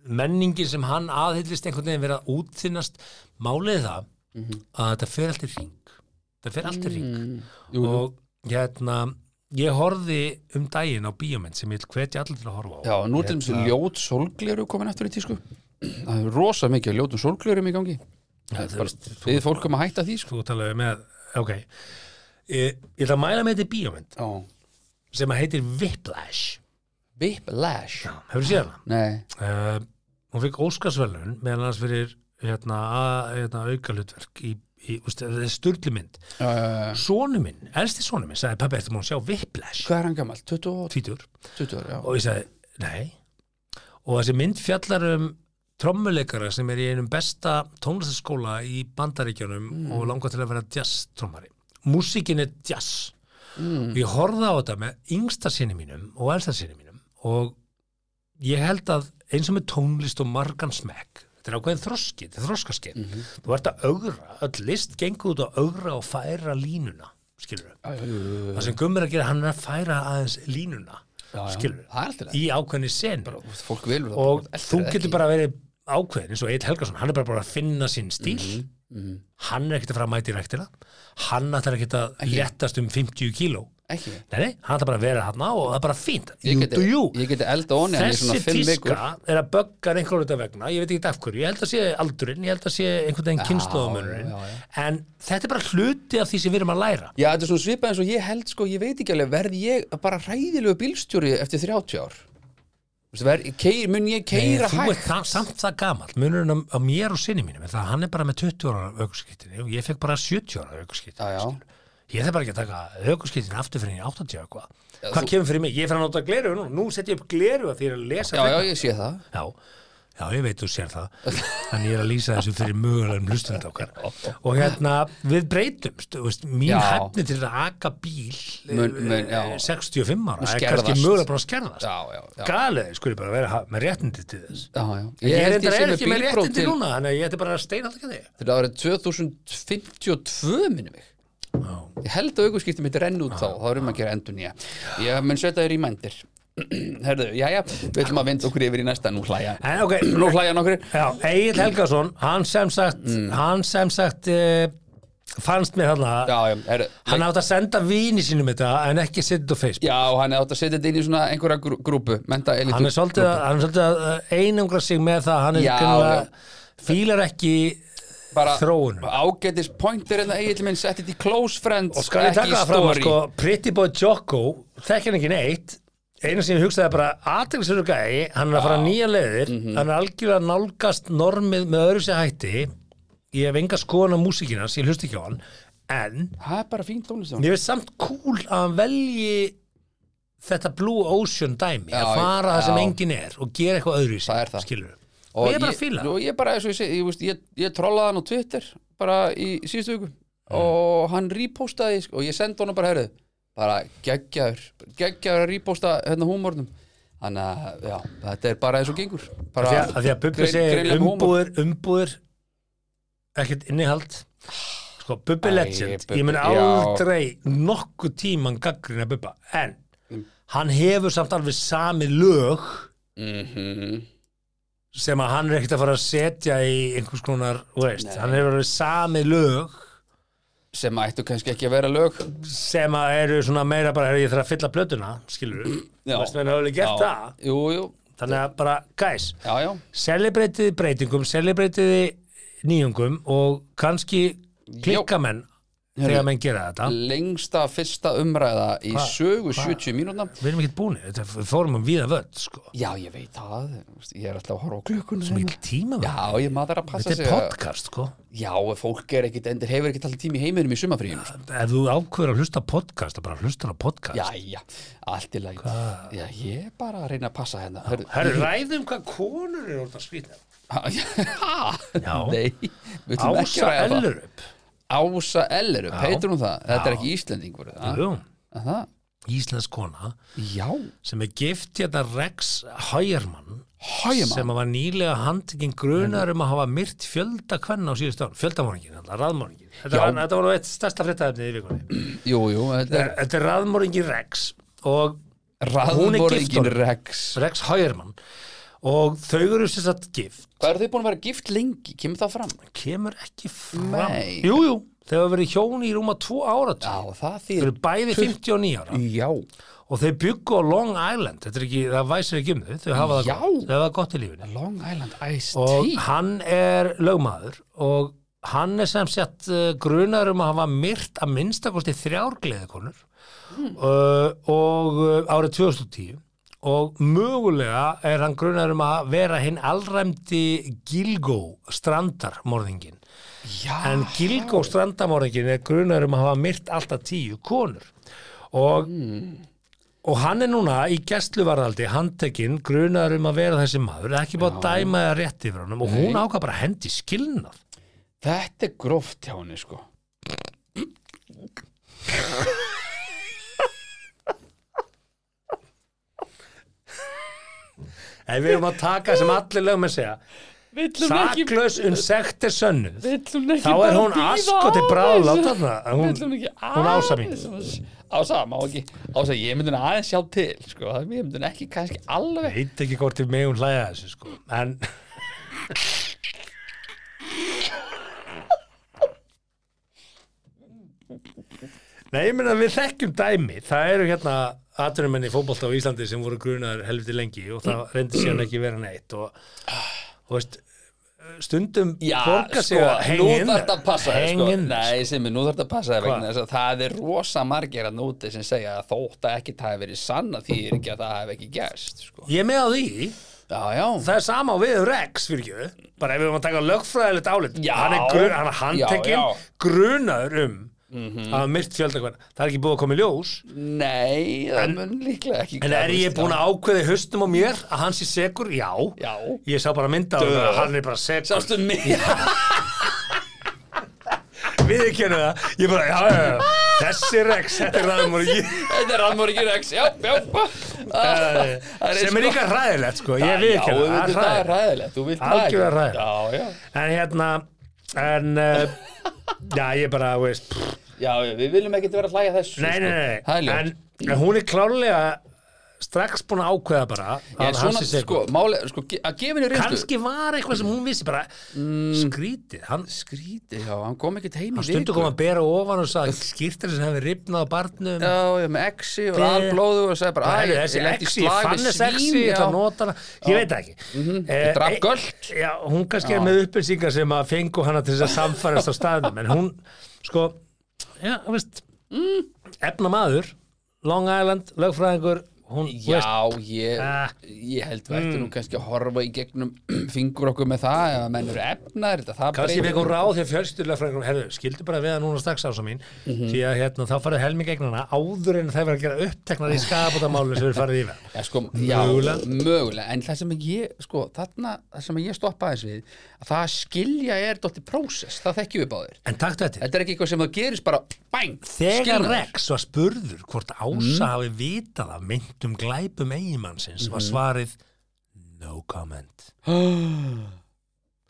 B: menningin sem hann aðhyllist einhvern veginn vera að útþinnast málið er það
D: Mhm.
B: að þetta fer allt í ring þetta fer allt í
D: Mm.
B: ring
D: Jú, jú.
B: og hérna ég horfði um daginn á bíómynd sem ég vil hvetja allir til að horfa á
D: Já, nú er til þessu
B: Hérna-
D: ljót sólgleru komin aftur í tísku Það er rosa mikið af ljótum sólglerum í gangi Það er
B: þú
D: bara-
B: veist, þú-
D: Við fólkum að hætta því
B: þú
D: sko
B: talaðu með ok ég, ég ætla að mæla með þetta bíómynd
D: Já
B: sem að heitir Whiplash
D: Whiplash
B: hefur séð hana
D: Nei,
B: uh, hún fikk Óskarsvelun meðan hans fyrir hérna, að- hérna, auka hlutverk í, í styrli mynd
D: uh,
B: sonu minn, elsti sonu minn sagði pabbi, ertu múin að sjá Whiplash
D: hvað er hann gammal? 20
B: tvítur
D: ára, já
B: og ég sagði, nei og þessi mynd fjallar um trommuleikara sem er í einum besta tónlistaskóla í bandaríkjunum og langar til að vera jazz trommari músikin er jazz
D: Mm.
B: og ég horfði á þetta með yngsta sinni mínum og elsta sinni mínum og ég held að eins og með tónlist og margan smekk þetta er ákveðin þroski, þetta er þroskaskeið þú ert að augra, öll list gengur út að augra og færa línuna skilur
D: Það
B: það sem gummur að gera, hann er að færa aðeins línuna skilur
D: er alltaf
B: í ákveðni sen
D: Fólk velur það
B: og
D: bara, eltir
B: þú
D: það
B: getur
D: ekki.
B: bara verið ákveðin eins og Eitt Helgason, hann er bara, bara að finna sinn stíl
D: Mhm,
B: hann er ekkert að fara að mæta í rektina hann ætlar ekkert að léttast um 50 kíló
D: Ekki
B: nei, nei, hann ætlar bara að vera hann á og það er bara fínt
D: Ég
B: you
D: geti-
B: do you
D: Ég geti elda onni hann í
B: þessi
D: svona 5 vikur
B: tíska er að bögga einhverjum þetta vegna, ég veit ekki af hverju ég held að sé aldurinn, ég held að sé einhvern veginn kynnslóðumönurinn,
D: já, já.
B: en þetta er bara hluti af því sem við erum að læra
D: Já, þetta er svona svipað eins og ég held sko, ég veit ekki alveg, verð ég bara ræðilegu bílstjóri eftir 30 ár? Þú veist, verð, keir, mun ég keira
B: Þú ert
D: hægt?
B: það, samt það gamalt, munurinn á, á mér og sinni mínum, er það að hann er bara með 20 ára aukurskittinni og ég fekk bara 70 ára aukurskittinni.
D: Já, já.
B: Ég þarf bara ekki að taka aukurskittinni aftur fyrir í 80 og eitthvað. Hvað
D: þú-
B: kemur fyrir mig? Ég fer að nota gleru nú, nú setjum ég upp gleru að því ég er að lesa
D: Já, já,
B: frekar.
D: ég sé það.
B: já, já, ég veit þú sér það, en ég er að lýsa þessu fyrir mögulegum hlustund okkar. Og hérna, við breytumst, þú veist, mín
D: Já.
B: hefni til að aka bíl
D: Mun- mun- já.
B: eh, 65 ára, er
D: skerðast.
B: kannski mögulega bara að skerðast.
D: Já, já, já.
B: Galið, skuli bara vera ha- með réttindi til þess
D: Já, já.
B: Ég, ég
D: held
B: reyndar
D: sé
B: er ekki með
D: bílpróf
B: réttindi
D: til-
B: núna, þannig að ég ætti bara að steina alltaf þig.
D: Þetta árið 2052 minnum mig. Ég held að aukurskipti mitt renn út þá, þá erum að gera endur nýja. Ég mun setja þér í mændir. [clears throat] Herðu, já, já, við ætlum að vinda okkur yfir í næsta, nú hlæja.
B: En ok,
D: Nú hlæja nokkur.
B: já, Egil Helgason, hann sem sagt, hann sem sagt uh, fannst mér hann
D: Já,
B: að
D: já, herðu.
B: hann átt að senda vini sínum þetta en ekki setja þetta á Facebook.
D: Já, hann er átt að setja þetta inn í svona einhverja grú- grúpu, menta elitu.
B: Hann er svolítið að, hann er svolítið að eh, einangra sig með það, hann er
D: Já, já.
B: kannar, fílar ekki
D: bara
B: Þróunum.
D: ágætis pointer en það eigin minn setti þetta í close friends
B: og skal ég
D: Sko, ekki í
B: taka það fram að
D: story.
B: sko, Pretty Boy Jocko, þekkir hann ekki neitt einu sem ég hugsaði bara aðeinsverðu gæi, hann er að fara nýja leiðir
D: Mhm.
B: hann er algjörlega að nálgast normið með öðru sér hætti ég hef enga skoðan á músíkina, ég hlust ekki á hann en
D: það er bara fín tónlist
B: mér finnst samt cool að hann velji þetta Blue Ocean dæmi
D: Já,
B: að fara það sem
D: já.
B: engin er og gera eitthvað öðru sér,
D: Það er það.
B: skilur og ég er bara að fíla það.
D: og ég bara, eins og ég segi, ég, veist, ég, ég trollaði hann á Twitter bara í síðustu viku og hann repostaði sko, og ég sendi honum bara herðu bara geggjaður, geggjaður að reposta hérna húmórnum þannig að já, þetta er bara eins og gengur bara,
B: Af því að, að því að Bubbi
D: grein-
B: segir
D: greinilega húmor.
B: umbúðir, umbúðir ekkert innihald sko, Bubbi
D: Æ,
B: legend
D: Bubbi,
B: ég mun
D: já.
B: aldrei nokkuð tíman gaggrina Bubba, en hann hefur samt alveg sami lög
D: Mhm.
B: sem að hann er ekkert að fara að setja í einhvers konar, þú veist, hann hefur alveg sami lög
D: sem ættu kannski ekki að vera lög
B: sem að eru svona meira bara, "Heyrðu, ég þarf að fylla blötuna skilur við,
D: Já.
B: veist, menn hafa alveg gert það
D: jú, jú,
B: þannig að bara, guys,
D: já, já
B: celebratiði breytingum, celebratiði nýjungum og kannski klikkamenn þegar menn gera þetta
D: lengsta fyrsta umræða í
B: Hva-
D: sögu
B: hva-
D: 70 mínútna
B: við erum ekkert búinir, þetta- við fórum um víða völd sko.
D: já ég veit það, ég er alltaf að horfa á klukkuna
B: svo
D: hérna.
B: mikil tíma
D: já ég maður að passa
B: þetta
D: sig
B: er
D: að-
B: podcast sko.
D: já fólk er ekkit, endur hefur ekkit alltaf tími í heiminum í sumafríinu sko.
B: ef þú ákveður að hlusta á podcast þá bara hlustar á podcast
D: já já, allt í læg já ég er bara að reyna að passa hérna Hörðu-
B: Herru, ræðum hvað konur eru orðnar skrýtnar
D: [laughs] Ha?
B: Já.
D: Nei, við ætlum ekki að
B: Ása
D: ræða það
B: Ellerup
D: Ása Ellerup, heitir hún það? Þetta
B: Já.
D: er ekki Íslendingur það?
B: Jú,
D: Er það?
B: Íslensk kona
D: Já,
B: sem er gift hérna Rex Hægermann
D: hægjum
B: sem var nýlega handtekinn grunar um að hafa myrt fjölda kvenna á síðustu árum fjöldamorgin, raðmorgin þetta
D: Já.
B: var, þetta var nú eitt stærsta fréttaefnið í vikunni
D: Jú, jú, þetta er
B: þetta er raðmorgin Rex og hún er gift
D: Raðmorðingin
B: honum.
D: Rex
B: Rex Hægermann og þau eru sem sagt gift
D: Hvað eru þau búin að vera gift lengi? Kemur það fram?
B: kemur ekki fram
D: Nei.
B: jú, jú, þau hafa verið hjón í rúma tvo árat
D: Já, það
B: þau
D: þýr
B: eru bæði 59 ára
D: Já,
B: og þau byggu á Long Island þetta er ekki, það væsir ekki um þau þau hafa það
D: Já.
B: gott, þau hafa það gott í lífinu
D: Long Island Ice
B: og
D: Tea
B: hann er lögmaður og hann er sem sett grunar um að hafa myrt að minnstakosti þrjár gleðikonur mm. og uh, árið 2010 og mögulega er hann grunar um að vera hinn allræmdi Gilgó strandarmorðingin
D: Já,
B: en Gilgó strandamorðingin er grunar um að hafa myrt alltaf tíu konur og og hann er núna í gæstluvarðaldi handtekinn grunar um að vera þessi maður ekki búið að dæma það rétt yfir honum og hún ákvað bara að hendi skilnað
D: þetta er gróft hjá henni sko
B: en við erum að taka sem allir lögum að segja
E: Villum ekki,
B: saklaus um sekt er sönnuð
E: villum ekki
B: þá er
E: bara
B: hún
E: bíða
B: askoti
E: aðeins?
B: bráðlátt þarna
E: Villum
B: hún,
E: ekki
B: hún ása mín
E: aðeins?
D: Ása, má ekki Ása, ég myndi hana aðeins sjá til sko, ég myndi hana ekki kannski alveg
B: veit ekki hvort við megum hlæja að þessu sko en Nei, ég meina við þekkjum dæmi það eru hérna atvinnumenni fótbolta á Íslandi sem voru grunar helviti lengi og það reyndi síðan ekki vera neitt og, og veist stundum
D: Já,
B: borga sig
D: sko,
B: að
D: nú
B: hengja inn
D: þarf þetta að passa þig, sko.
B: hengin
D: Nei, sem er, nú þarf þetta að passa þig
B: Hvað?
D: vegna þess að það er rosa margir að núti sem segja að þótt að ekkert hafi verið sanna því er ekki að það hafi ekki gerst, sko.
B: Ég er með á því,
D: Já, já.
B: það er sama á við um Rex fyrir ekki, bara ef við erum að taka lögfræðilegt álit,
D: Já.
B: hann er, grun, hann er
D: Já,
B: handtekinn
D: já. Mhm.
B: grunaður um að hafa myrt fjöldakvæðan, það er ekki búið að koma í ljós
D: Nei, það
B: En-
D: mun líklega ekki
B: En er ég búin að ákveði haustum á mér að hann sé segur? Já.
D: Já.
B: Ég sá bara mynda á
D: Duh.
B: það, hann er bara segur.
D: Sástu mig?
B: Við ekki henni það. Ég bara, já, já, já. Þessi Rex, þetta er ræðum og ég.
D: [laughs] Þetta er Almoríki Rex, já, já.
B: Eh,
D: Það
B: sem er líka ræðilegt, sko. Ég við ekki
D: það.
B: henni það. Það
D: Já, við
B: er ræðilegt.
D: ræðilegt, þú vilt það ekki.
B: Algjörlega hræðilegt.
D: Já, já.
B: En hérna, en, uh, [laughs] já, ég bara, veist, pff,
D: Já, já, við viljum ekkert vera að hlæja þessu.
B: nei,
D: sko.
B: nei, nei.
D: Það er ljótt.
B: En, en hún er klárlega strax búin að ákveða bara
D: Já,
B: að hann
D: svona,
B: sé
D: sko,
B: segur.
D: máli, sko, ge- að gefa henni reynslu
B: Kanski var eitthvað sem hún vissi bara, skrítið, hann
D: Mm. skrítið, já, hann kom ekkert heim í
B: stundu
D: viku.
B: kom að bera ofan og sagði skýrtir sem hefði ripnað á barnum
D: já, já, með exi og alblóðu og sagði bara,
B: Bara,
D: "Æ,
B: herri, þessi
D: ég lenti í
B: exi,
D: slag
B: ég
D: við
B: fann þessi
D: svín,
B: exi, ég ætla að
D: já. Mhm.
B: nota hana ég veit það ekki Eh,
D: drap
B: eh,
D: göllt.
B: já, hún kannski er með upplýsingar sem að fengu hana til þess að samfærast á staðnum en hún, sko já, þú veist,
D: Mm.
B: efna maður Long Island, lögfræðingur hún, þú veist,
D: Já, ég,
B: Ah.
D: ég held við ættum nú
B: Mm.
D: kannski að horfa í gegnum [clears throat] fingur okkur með það, ef að menn eru efnar þetta, það
B: kannski fekk hún ráð því að fjölstyrlögfræðingur, herðu, skildu bara við hann núna strax ása mín, því að hérna þá farið helming eignana áður en það verið að gera uppteknar í skabótamálinu sem við farið yfir
D: Já, sko, já,
B: Mögulega.
D: mögulega. en það sem ég, sko, þarna, það sem ég stoppa aðeins við, að það að skilja er dóttir prósess, það þekkjum við báðir.
B: en taktu þetta,
D: Þetta er ekki eitthvað sem það gerist bara, bæng,
B: Þegar Mhm. Rex var spurður hvort Ása hafi vitað af myndum glæpum eigimannsins var svarið no comment.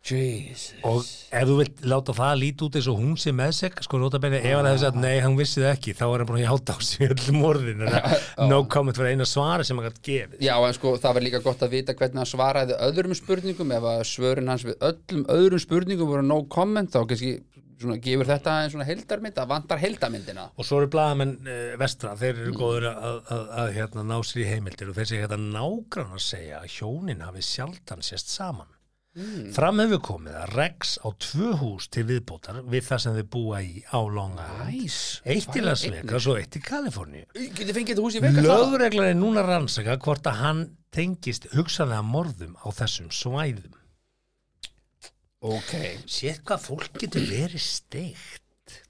D: Jesus.
B: Og ef þú vilt láta það líti út eins og hún sé með seg, sko nota beinni, ef hann hefði sagt nei, hann vissi það ekki, þá er hann búin að hjáta á sig í öllum orðin. [laughs] þannig að No comment var eina svari sem hann gætt gefið.
D: Já, en sko, það var líka gott að vita hvernig hann svaraði öðrum spurningum ef að svörin hans við öllum öðrum spurningum voru no comment, þá kannski svona, gefur þetta einn svona heldarmynd, það vantar heldarmyndina
B: Og svo eru blaðamenn eh, vestra, þeir eru góður að, að, að, að hérna, ná sér í heimildir og þeir segja hérna nágrann að segja að hjónin hafi sjaldan sést saman. Fram hefur komið að Rex á tvö hús til viðbótar við það sem þau búa í á Long Island.
D: Næs.
B: Eitt í
D: Tvær
B: Las
D: eignir.
B: Vegas og eitt í Kaliforníu.
D: Getið fengið þetta hús í Vegas það?
B: Lögreglan er núna að rannsaka hvort að hann tengist hugsanlega morðum á þessum svæðum.
D: Ok.
B: Sér hvað fólk getur verið steikt.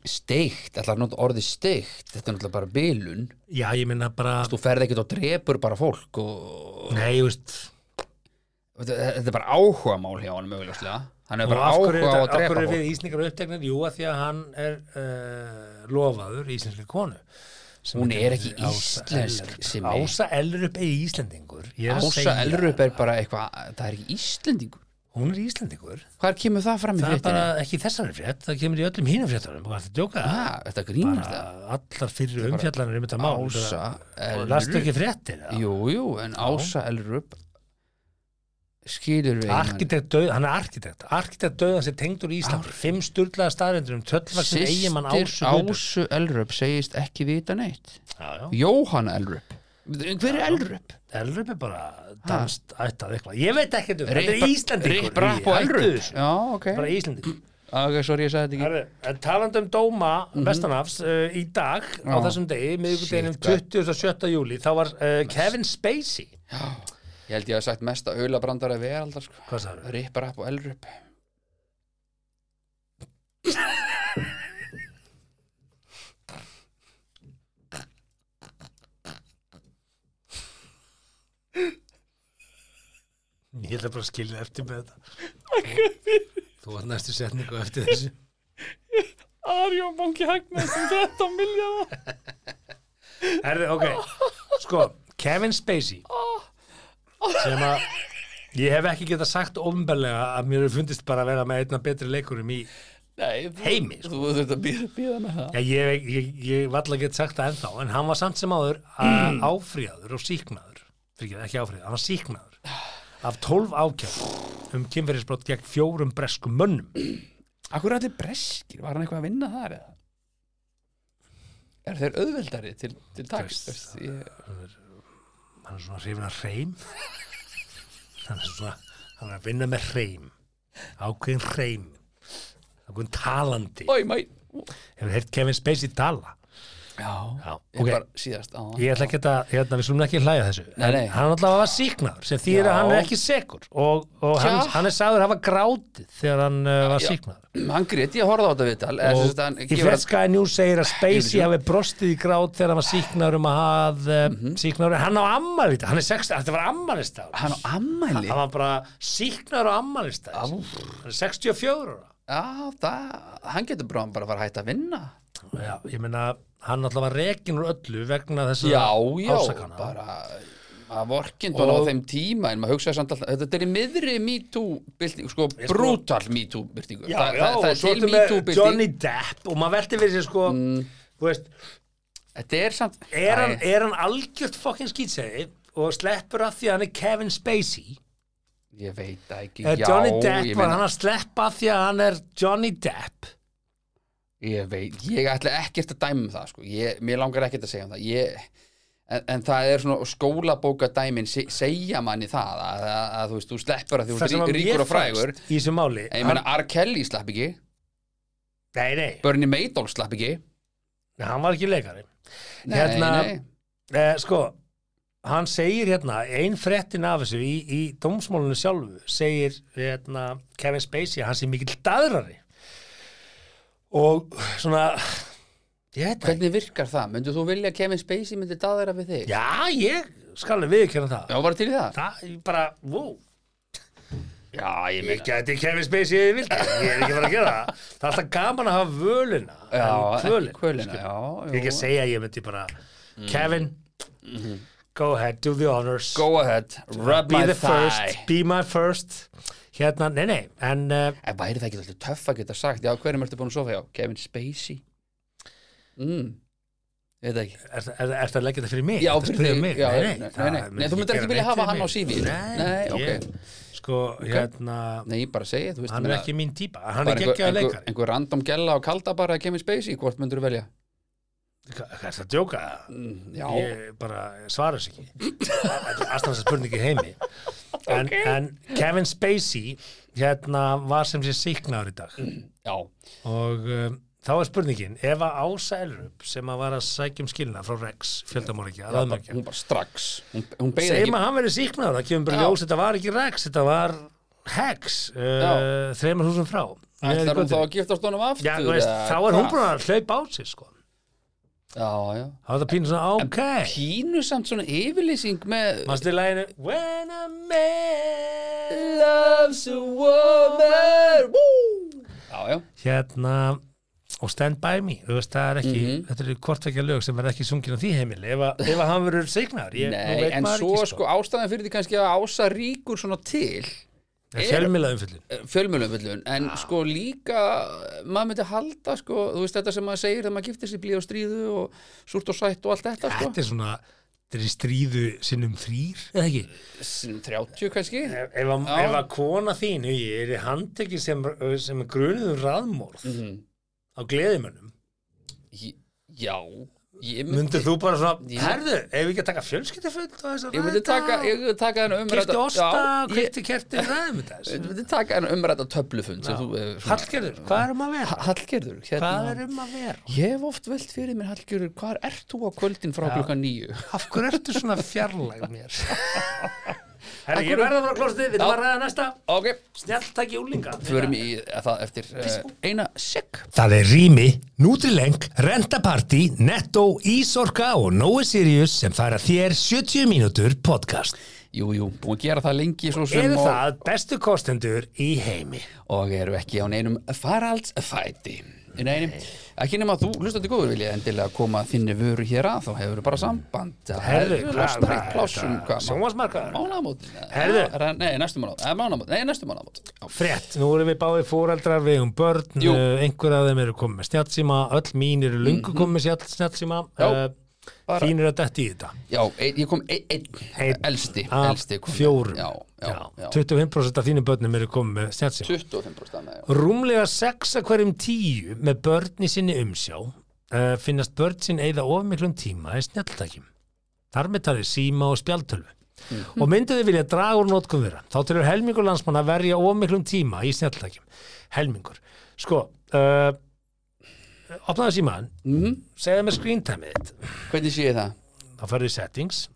D: Steikt, ætlar að nota orðið steikt. Þetta er náttúrulega bara bilun.
B: Já, ég minna bara,
D: Þú ferð ekkert og drepur bara fólk og...
B: nei, þú veist,
D: Þetta þetta er bara áhuga mál hjá hann mögulegslega. Hann
B: og
D: hefur bara
B: af hverju
D: áhuga á
B: er, þetta-
D: að
B: af
D: drepa
B: hverju er
D: fólk.
B: við Ísningar uppteknir? Jú, að því að hann er uh, lofaður íslenski konu. sem
D: Hún er
B: heitir
D: ekki
B: Ása
D: íslensk,
B: Ellerup.
D: Simmi.
B: Ása Elrup er íslendingur. Ég er að
D: Ása
B: segja.
D: Elrup er bara eitthvað, það er ekki Íslendingur.
B: Hún er íslendingur.
D: Hvar kemur það fram í
B: Það er
D: fréttinni?
B: bara ekki í þessari frétt, það kemur í öllum hínum fréttunum. Hvað er þetta að djóka?
D: Ha, þetta grínast það?
B: bara allar fyrir umfjallanir um þetta mál
D: Ása
B: og
D: Elrup.
B: lastu ekki fréttir eða?
D: Jú, jú, en Ása Elrup skilur við
B: arkitekt döð, hann er arkitekt arkitekt döðan sem tengdur í Ísland fimm sturlaða staðrendur um töllvaksin eigimann Ásu
D: Sýstir
B: Guðbjörg.
D: Ásu Elrup segist ekki vita neitt.
B: Já, já.
D: Jóhanna Elrup. Hver er Elrup?
B: Elrup er bara danst ættað eitthvað, ég veit ekki um þetta er
D: Rip-
B: Íslandingur
D: Rip Rapp og
B: Í, hættu
D: Elrup.
B: þessu.
D: Já, ok.
B: bara Íslandingur
D: Ok, sorry, ég sagði þetta ekki.
B: Herðu, en talandi um dóma vestanafs uh, í dag á
D: Já.
B: þessum degi, miðvikudeginum
D: Shit, hvað-
B: 27. júli, þá var uh, Kevin Spacey
D: Ég held ég að sagt mesta aulabrandara veraldar, sko.
B: hvað sagði
D: Rip Rapp og Elrup.
B: Ég ætla bara að skilja eftir með [laughs] þetta Þú var næstu setningu eftir þessu
A: Arjón banki hagnaði sem 13 miljardar.
B: Herði, ok Sko, Kevin Spacey sem að ég hef ekki getað sagt ofnbælega að mér hefur fundist bara að vera með einna betri leikurum í
D: [laughs] Nei, þú-
B: heimi sko.
D: þú þurft að býða, býða með það.
B: Já, ég, ég, ég valla get sagt það ennþá en hann var samt sem áður mm. áfríðaður og síknaður Fyrir, ekki áfríðaður, hann var síknaður af 12 ákjörn um kynferðisbrot gegn fjórum breskum mönnum
D: Akkur er allir breskir, var hann eitthvað að vinna þar eða? Er þeir auðveldari til, til takst?
B: Þú
D: veist, ég-
B: hann er svona hrifin að hreim hann er svona hann er að vinna með hreim ákveðin hreim ákveðin talandi
D: Oj, mæ
B: hefur heyrt Kevin Spacey tala
D: Já,
B: Já,
D: ég
B: ok.
D: bara síðast á
B: ég ætla ekki að, hérna, við slumum ekki að hlæja að þessu
D: Nei, nei.
B: En hann alltaf var síknaður sem þýðir að
D: Já.
B: hann er ekki sekur og, og hann,
D: Tja.
B: hann er sagður að hafa grátið þegar hann uh, var síknaður
D: Hann grét, ég horfði á þetta viðtal eða sem
B: og
D: sagt hann
B: í
D: gefur að-
B: fredskaði njú segir að Spacey
D: Ég
B: hafi brostið í grát þegar hann var síknaður um að hað mm síknaður, hann á ammali hann er 60, þetta var ammalistagur
D: Mhm. Hann á ammæli
B: hann var bara síknar á ammælistæð hann er 64 ára
D: Já, það, hann getur bara, bara að fara að hætta að vinna
B: já, ég meina, hann alltaf var rekin úr öllu vegna þess
D: Já, já,
B: ásakana
D: bara að vorkind og á
B: Og-
D: þeim tíma en maður hugsaði samt alltaf, þetta er í miðri MeToo byltingu, sko,
B: Ég sko-
D: brutal MeToo byltingu,
B: já,
D: það,
B: já,
D: það, það
B: og
D: er
B: svo
D: til
B: ertu með
D: MeToo bylting
B: Johnny Depp og maður velti fyrir sér sko þú veist,
D: Þetta er samt
B: er hann,
D: Æ,
B: er hann algjört fokkin skýtsegi og sleppur af því að hann er Kevin Spacey
D: Ég veit það ekki,
B: er
D: já
B: Johnny Depp,
D: ég
B: var
D: meina-
B: hann að sleppa af því að hann er Johnny Depp
D: Ég veit, ég ætla ekkert að dæma um það sko. ég, mér langar ekkert að segja um það ég, en, en það er svona skólabóka dæmin se, segja manni það að, að, að þú veist, þú sleppur að því þú
B: það
D: ert
B: sem
D: rík-
B: að
D: ríkur
B: mér
D: og frægur
B: fannst í þessu máli
D: en ég meina R. Kelly slapp ekki
B: nei, nei,
D: Bernie Madoff slapp ekki
B: hann var ekki leikari Hérna-
D: Nei, nei.
B: Eh, sko, hann segir hérna, ein frettin af þessu í, í dómsmálunum sjálfu segir hérna, Kevin Spacey að hann sé mikill daðrari og svona ég veit það
D: Hvernig virkar það? Myndu þú vilja að Kevin Spacey myndi daðara við þig?
B: já, ég skal alveg viðkjöna það
D: Já, bara til í það?
B: það, ég bara, wow
D: Já, ég
B: ég
D: meina
B: gæti Kevin Spacey ef ég vildi ég er ekki bara að gera það það er alltaf gaman að hafa völina en
D: Já,
B: kvölin, sko.
D: ekki kvölina, já,
B: ég er ekki að
D: jú.
B: segja að ég myndi bara Kevin, go ahead, do the honors
D: Mhm. Go ahead, rub
B: be
D: my
B: the
D: thigh
B: first, be my first hérna, nei nei en uh,
D: En væri það ekki alltaf töff að geta sagt Já, hverjum ertu búin að sofa hjá? Kevin Spacey mm. Veit það ekki
B: er, er, er það að leggja þetta fyrir mig?
D: Já,
B: Ertu að
D: fyrir
B: spyrja
D: þig,
B: mig?
D: já,
B: nei, nei,
D: nei,
B: það
D: nei, nei.
B: myndi
D: Nei, þú myndir
B: gera
D: ekki vilja
B: neitt
D: hafa
B: fyrir
D: hann á
B: mig.
D: CV -inu.
B: Nei,
D: Nei, ok.
B: ég, sko, hérna
D: Nei, ég bara segi, þú veist
B: hann er
D: meina,
B: ekki mín típa, hann
D: bara
B: er geggjaður
D: einhver,
B: leikari
D: einhver random gella og kalda bara að Kevin Spacey, hvort myndur þú velja? Mm,
B: Hva- hvað er það að djóka?
D: Já,
B: Mm, ég bara svara þess ekki alltaf þess að spurningi heimi en, en Kevin Spacey hérna var sem sé síknaður í dag
D: Já,
B: og um, þá er spurningin ef að Ása Elrup sem að var að sækjum skilna frá Rex fjöldamorgja, raðmörgja
D: hún bara strax Hún, hún beigði
B: segjum
D: ekki
B: að hann verið síknaður, það kemur bara
D: Já.
B: ljós þetta var ekki Rex, þetta var Hex uh,
D: Já.
B: þreymar húsum frá Neðri
D: Ætlar hún þá
B: götunni.
D: að giftast honum aftur?
B: Já, þú veist,
D: eða
B: þá er hún
D: hvað?
B: búin að hlaupa á sig sko.
D: Já, já
B: þá er það pínu svona, ok
D: Pínu samt svona yfirlýsing með
B: mannstu læginu When a man
D: Loves a woman Woo! Já, já,
B: hérna og Stand By Me, þú veist, það er ekki
D: Mhm.
B: þetta eru kortvekja lög sem er ekki sungin á því heimili ef, að- ef að hann verður signaður ég, nú
D: nei,
B: veit
D: en
B: maður
D: svo
B: ekki,
D: sko ástæðan fyrir því kannski að ása ríkur svona til
B: Það er fjölmiðla umfyllin
D: fjölmjölumfjöllun, en sko líka maður myndi halda sko, þú veist þetta sem maður segir þegar maður giftir sér blíð og stríðu og súrt og sætt og allt þetta sko
B: Þetta er svona, þetta er í stríðu sinnum þrýr, eða ekki?
D: Sinum 30 kannski
B: Ef, ef, að,
D: Já.
B: ef að kona þín ég er handtekið sem, sem er grunuð um raðmorð
D: Mhm.
B: á gleðimönnum
D: Í- Já, ég myndi
B: myndir þú bara svona,
D: Já.
B: herðu, ef við ekki að taka fjölskyldaföld og þess að
D: ég myndi taka, ég myndi taka hennar
B: Kifti
D: umræta
B: osta,
D: já, ég
B: kifti kerti, um ræðum þetta þessu.
D: ég myndi taka hennar umræta töflufund sem þú hefur svona-
B: Hallgerður, hvað er um að vera?
D: Ha- Hallgerður,
B: Hvað er
D: hérna
B: um að vera?
D: Ég hef oft velt fyrir mér Hallgerður, hvar ert þú á kvöldin frá klukkan nýju?
B: Af hverju ertu svona fjarlæg
D: [laughs]
B: mér? Herri, ég verða að vera klostið, við þarfum að ræða næsta
D: Ok,
B: Snjallt takk í úlinga
D: förum í það eftir uh, eina sekk
B: Það er Rými, Nutrileng, Rentaparty, Netto, Ísorka og Nói Sirius sem færa þér 70 mínútur podcast.
D: Jú, jú, búin að gera það lengi svo sem
B: Eru
D: og-
B: það bestu kostendur í heimi?
D: og eru ekki á neinum faraldsfæti Nei, nei, ekki nema þú hlustandi góður vilja endilega koma þinni vöru hér að þá hefur bara samband Það
B: Herðu,
D: er-
B: hvað-
D: losnar eitt
B: hvað-
D: plássum
B: hvað- sjónvarpsmarkaður?
D: Mánamót
B: Herðu.
D: Ah, Nei, næstum mánamót Eh, Mánamót, nei, næstum mánamót Já.
B: Frett, nú erum við báði fóraldrar, við um börn,
D: Jú.
B: uh, einhver af þeim eru komið með snjallsíma, öll mín eru lungu komið með snjall- snjallsíma,
D: Mhm.
B: uh,
D: Já, bara-
B: þín eru að detti í þetta.
D: Já, ein, ég kom einn, ein,
B: Einn
D: elsti,
B: Af
D: elsti kom.
B: fjórum.
D: Já, já, já,
B: 25% af þínu börnum eru komið með snjallsíma.
D: 25% af mig, já.
B: Rúmlega 6 af hverjum 10 með börn í sinni umsjá uh, finnast börn sín eigða ofmiklum tíma í snjalltækjum. Þar með talið síma og spjaltölvu. Og myndu þið vilja draga úr notkun þeirra. Þá tilur helmingur landsmann að verja ofmiklum tíma í snjalltækjum. Helmingur. Sko, uh, opnaðu símaðan, segðu mér screen time þitt.
D: Mhm. Hvernig sé ég það?
B: Þá ferðu í settings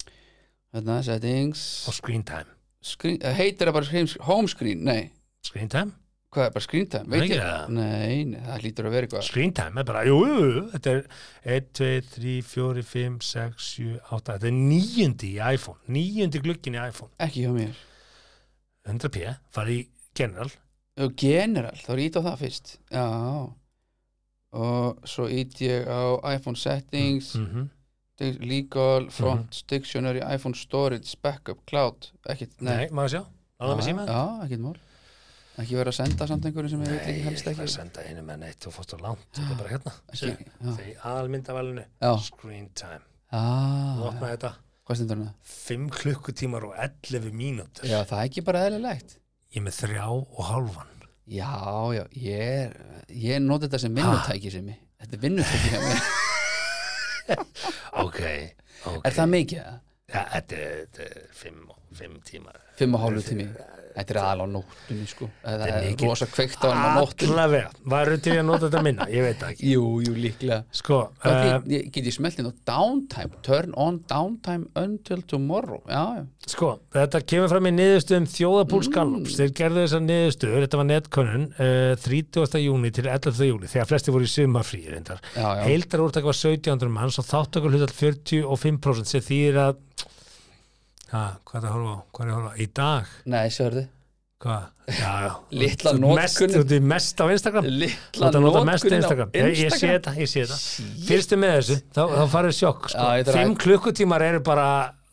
D: Þarna, settings
B: og screen time.
D: screen, eh, Heitir það bara screen, home screen? Nei,
B: Screen time?
D: hvað er bara screen time?
B: Nei,
D: Veit ég
B: ekki það.
D: Nei, nei, það lítur að vera eitthvað
B: Screen time er bara, jú, jú, jú, þetta er 1, 2, 3, 4, 5, 6, 7, 8, þetta er níundi í iPhone, níundi glukkin í iPhone,
D: Ekki hjá mér
B: 100p, farið í general,
D: Og General, þá er ít á það fyrst Já Og svo ít ég á iPhone settings
B: mm -hmm.
D: Legal,
B: Mm-hmm.
D: front, dictionary, iPhone storage, backup, cloud Ekkit,
B: nei,
D: nei,
B: maður sjá, láða með
D: Já,
B: síma.
D: Já, ekkit mál Ekki vera að senda samt einhverjum sem ég veit
B: Nei,
D: ekki
B: ég
D: helst
B: ætla
D: ekki ah.
B: að senda einu með neitt, þú fórst á langt, þetta er bara hérna,
D: Ekki, já.
B: þegar í aðalmyndavælinu,
D: Já.
B: screen time, þú
D: ah,
B: opnaði þetta,
D: Hvað stendur hana?
B: 5 klukkutímar og 11 mínútur,
D: Já, það er ekki bara eðlilegt
B: ég er með þrjá og hálfan.
D: Já, já, ég er Ég noti þetta sem vinnutæki sem ég Þetta er vinnutæki sem ég
B: Ok, ok,
D: Er það mikið? eða?
B: ja, þetta er- þetta er 5 tímar.
D: Fimm og hálfu tími Þetta er aðal á nóttunni sko Það er
B: mikið.
D: rosa kveikt á hann á nóttunni
B: Allavega, varu til í að nota þetta minna, ég veit það ekki
D: Jú, jú, líklega
B: Sko,
D: Hvað
B: uh,
D: þýð- ég- Get ég smelt inn á downtime Turn on downtime until tomorrow Já, já
B: sko, þetta kemur fram í niðurstöðum
D: Mm.
B: þjóðapúls Gallups, þeir gerðu þessar niðurstöður, þetta var netkönnun uh, 30. júni til 11. júli þegar flesti voru í sumarfríi reyndar
D: Já, já.
B: heildar úrtak var 1700 manns og þáttökur hlutall 45% sem þýðir að ha, hvað er það að horfa á, hvað er það að horfa á í dag,
D: Nei, sérðu
B: hvað, já, já
D: Litla
B: Þú ert mest,
D: notkun.
B: þú ert í mest á Instagram
D: Litla
B: Láta nota mest
D: notkun á
B: Instagram. Ég, ég sé þetta, ég sé þetta. Fyrstu með þessu, þá, þá farið sjokk. Sko.
D: Já, ég þarf að-
B: Fimm klukkutímar eru bara,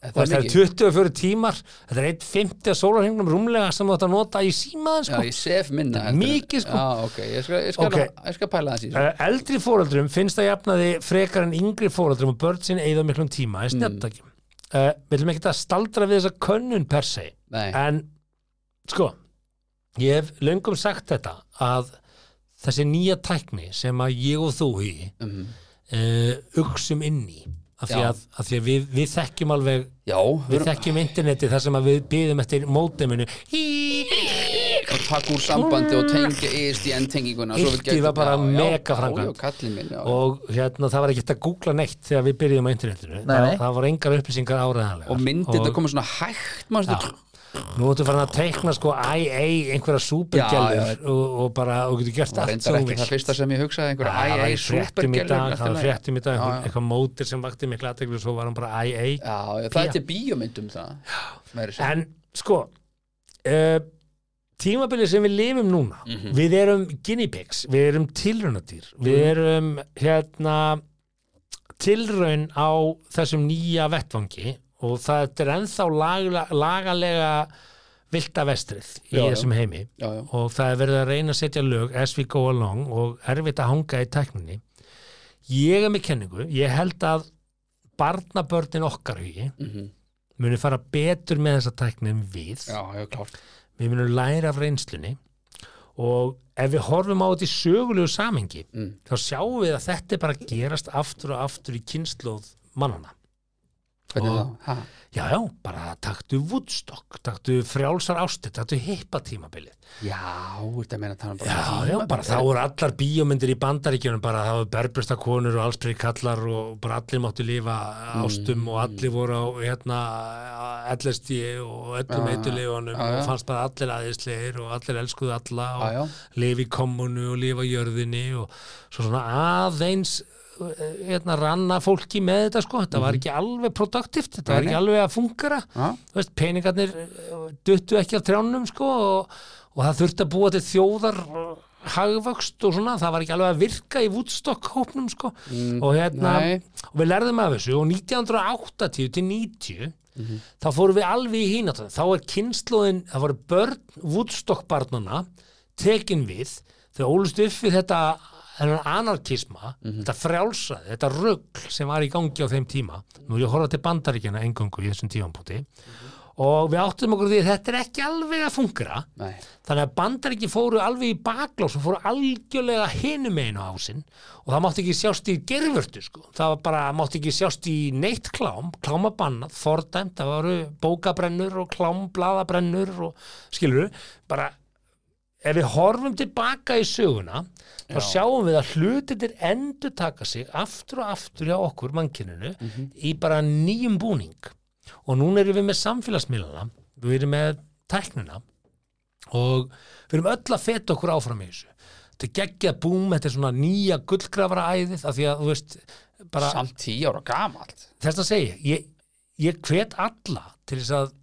D: Þetta
B: þú
D: er
B: veist, það er
D: mikið.
B: 24 tímar, þetta er 1.50 sólarhengnum rúmlega sem þú ætti að nota í símaðin,
D: Já,
B: sko.
D: ég sef minna
B: Þetta er
D: heldur en-
B: mikið, sko.
D: Já, ok Ég skal, ég skal,
B: Ok.
D: Ég skal pæla það síðan
B: Eh, Eldri fóreldrum finnst það jafnaði frekar en yngri fóreldrum og börn sinni eigða miklum tíma í
D: Mm.
B: snjáttakjum. Uh, við viljum ekki að staldra við þessa könnun per se,
D: Nei,
B: en sko, ég hef löngum sagt þetta að þessi nýja tækni sem að ég og þú í
D: Mhm.
B: uh, uksum inn í af því
D: Já.
B: að, af því að við, við þekkjum alveg
D: já
B: við þekkjum interneti þar sem að við byðum eftir móteminu
D: Og taka úr sambandi og tengja ESDN tenginguna svo við
B: Yrki var
D: gætum-
B: bara
D: já, já,
B: mega
D: já,
B: framkvæmd.
D: já, kallinn minn, já.
B: og hérna, það var ekki hægt að googla neitt þegar við byrjum á internetinu
A: Nei, nei.
B: Það, það var engar upplýsingar áræðanlega
D: og myndið þetta komið svona hægt manstu,
B: Já. Nú ertu farin að teikna sko IA einhverja
D: Já, já.
B: supergjallur og, og bara, og getur gert
D: það
B: allt
D: reyndar
B: sem þú
D: ekki það
B: vilt.
D: fyrsta sem ég hugsaði einhverja
B: Það var
D: æj,
B: í fréttum í
D: supergerlur,
B: dag,
D: allt í
B: það var
D: lagi.
B: fréttum í dag,
D: Já,
B: einhver-
D: já.
B: eitthvað mótir sem vakti mikla aðteglu og svo var hann bara IA.
D: Já, já, það er til bíómyndum það meira sér
B: En sko, uh, tímabilið sem við lifum núna,
D: Mhm.
B: við erum guinea pigs, við erum tilraunadýr, við
D: Mhm.
B: erum hérna tilraun á þessum nýja vettvangi og það er ennþá lagla, lagalega vilda vestrið í
D: Já, já.
B: þessum heimi
D: já, já,
B: og það er verið að reyna að setja lög as we go along og erfitt að hanga í tækninni ég er með kenningu, ég held að barnabörnin okkar hugi
D: mhm.
B: muni fara betur með þessa tækni en við
D: já, já, klárt
B: við munum læra af reynslunni og ef við horfum á þetta í sögulegu samengi
D: Mm.
B: þá sjáum við að þetta er bara að gerast aftur og aftur í kynnslóð mannana
D: hvernig
B: Og-
D: það, ha,
B: já, já, bara taktu Woodstock taktu frjálsar ástu, taktu hippatímabilið
D: já, þetta meina það bara
B: Já,
D: tíma-
B: já, bara þá eru allar bíómyndir í bandaríkjunum bara það var berbrista konur og allsbyrði kallar og bara allir máttu lifa ástum
D: Mm.
B: og allir voru á hérna ellesti og öllum
D: Já, já,
B: eitulegunum
D: Ah, já, Ah, já.
B: og fannst bara allir aðeinslegir og allir elskuðu alla
D: Já, já.
B: og lifi í kommunu og lifa í jörðinni og svo svona aðeins eh, hérna ranna fólki með þetta sko, þetta var ekki alveg produktivt, þetta var
D: Mhm. Nei,
B: ekki alveg að fungera
D: Já,
B: þú veist, peningarnir eh, duttu ekki af trjánum sko og, og það þurfti að búa til þjóðar eh, hagvöxt og svona, það var ekki alveg að virka í Woodstock hópnum sko
D: Mm.
B: og hérna,
D: nei.
B: og við lærðum af þessu og 1980 til 90 þá fórum við alveg í hínatan þá er kynnslóðin, það voru börn Woodstock barnana tekin við þau ólust upp við þetta þennan anarkisma, þetta frjálsaði þetta rugl sem var í gangi á þeim tíma nú er ég að horfa til bandaríkjana engangu í þessum tífampunkti og við áttum okkur á því að þetta er ekki alveg að fungra
D: nei,
B: þannig að bandaríki fóru alveg í baklás og fóru algjörlega hinum einu á sinn og það mátti ekki sjást í gerfurtu sko. það var bara, mátti ekki sjást í neitt klám, klámabannað, fordæmt það varu bókabrennur og klámblaðabrennur og skilur bara, ef við horfum tilbaka í söguna þá sjáum við að hlutinir endur taka sig aftur og aftur hjá okkur mannkininu í bara nýjum búning og núna erum við með samfélagsmiðlana við erum með tæknina og við erum öll að feta okkur áfram í þessu þetta er geggja búm, þetta er svona nýja gullgrafara æðið af því að þú veist bara,
D: samt tíu ára gamalt
B: þess að segja ég, ég hvet alla til þess að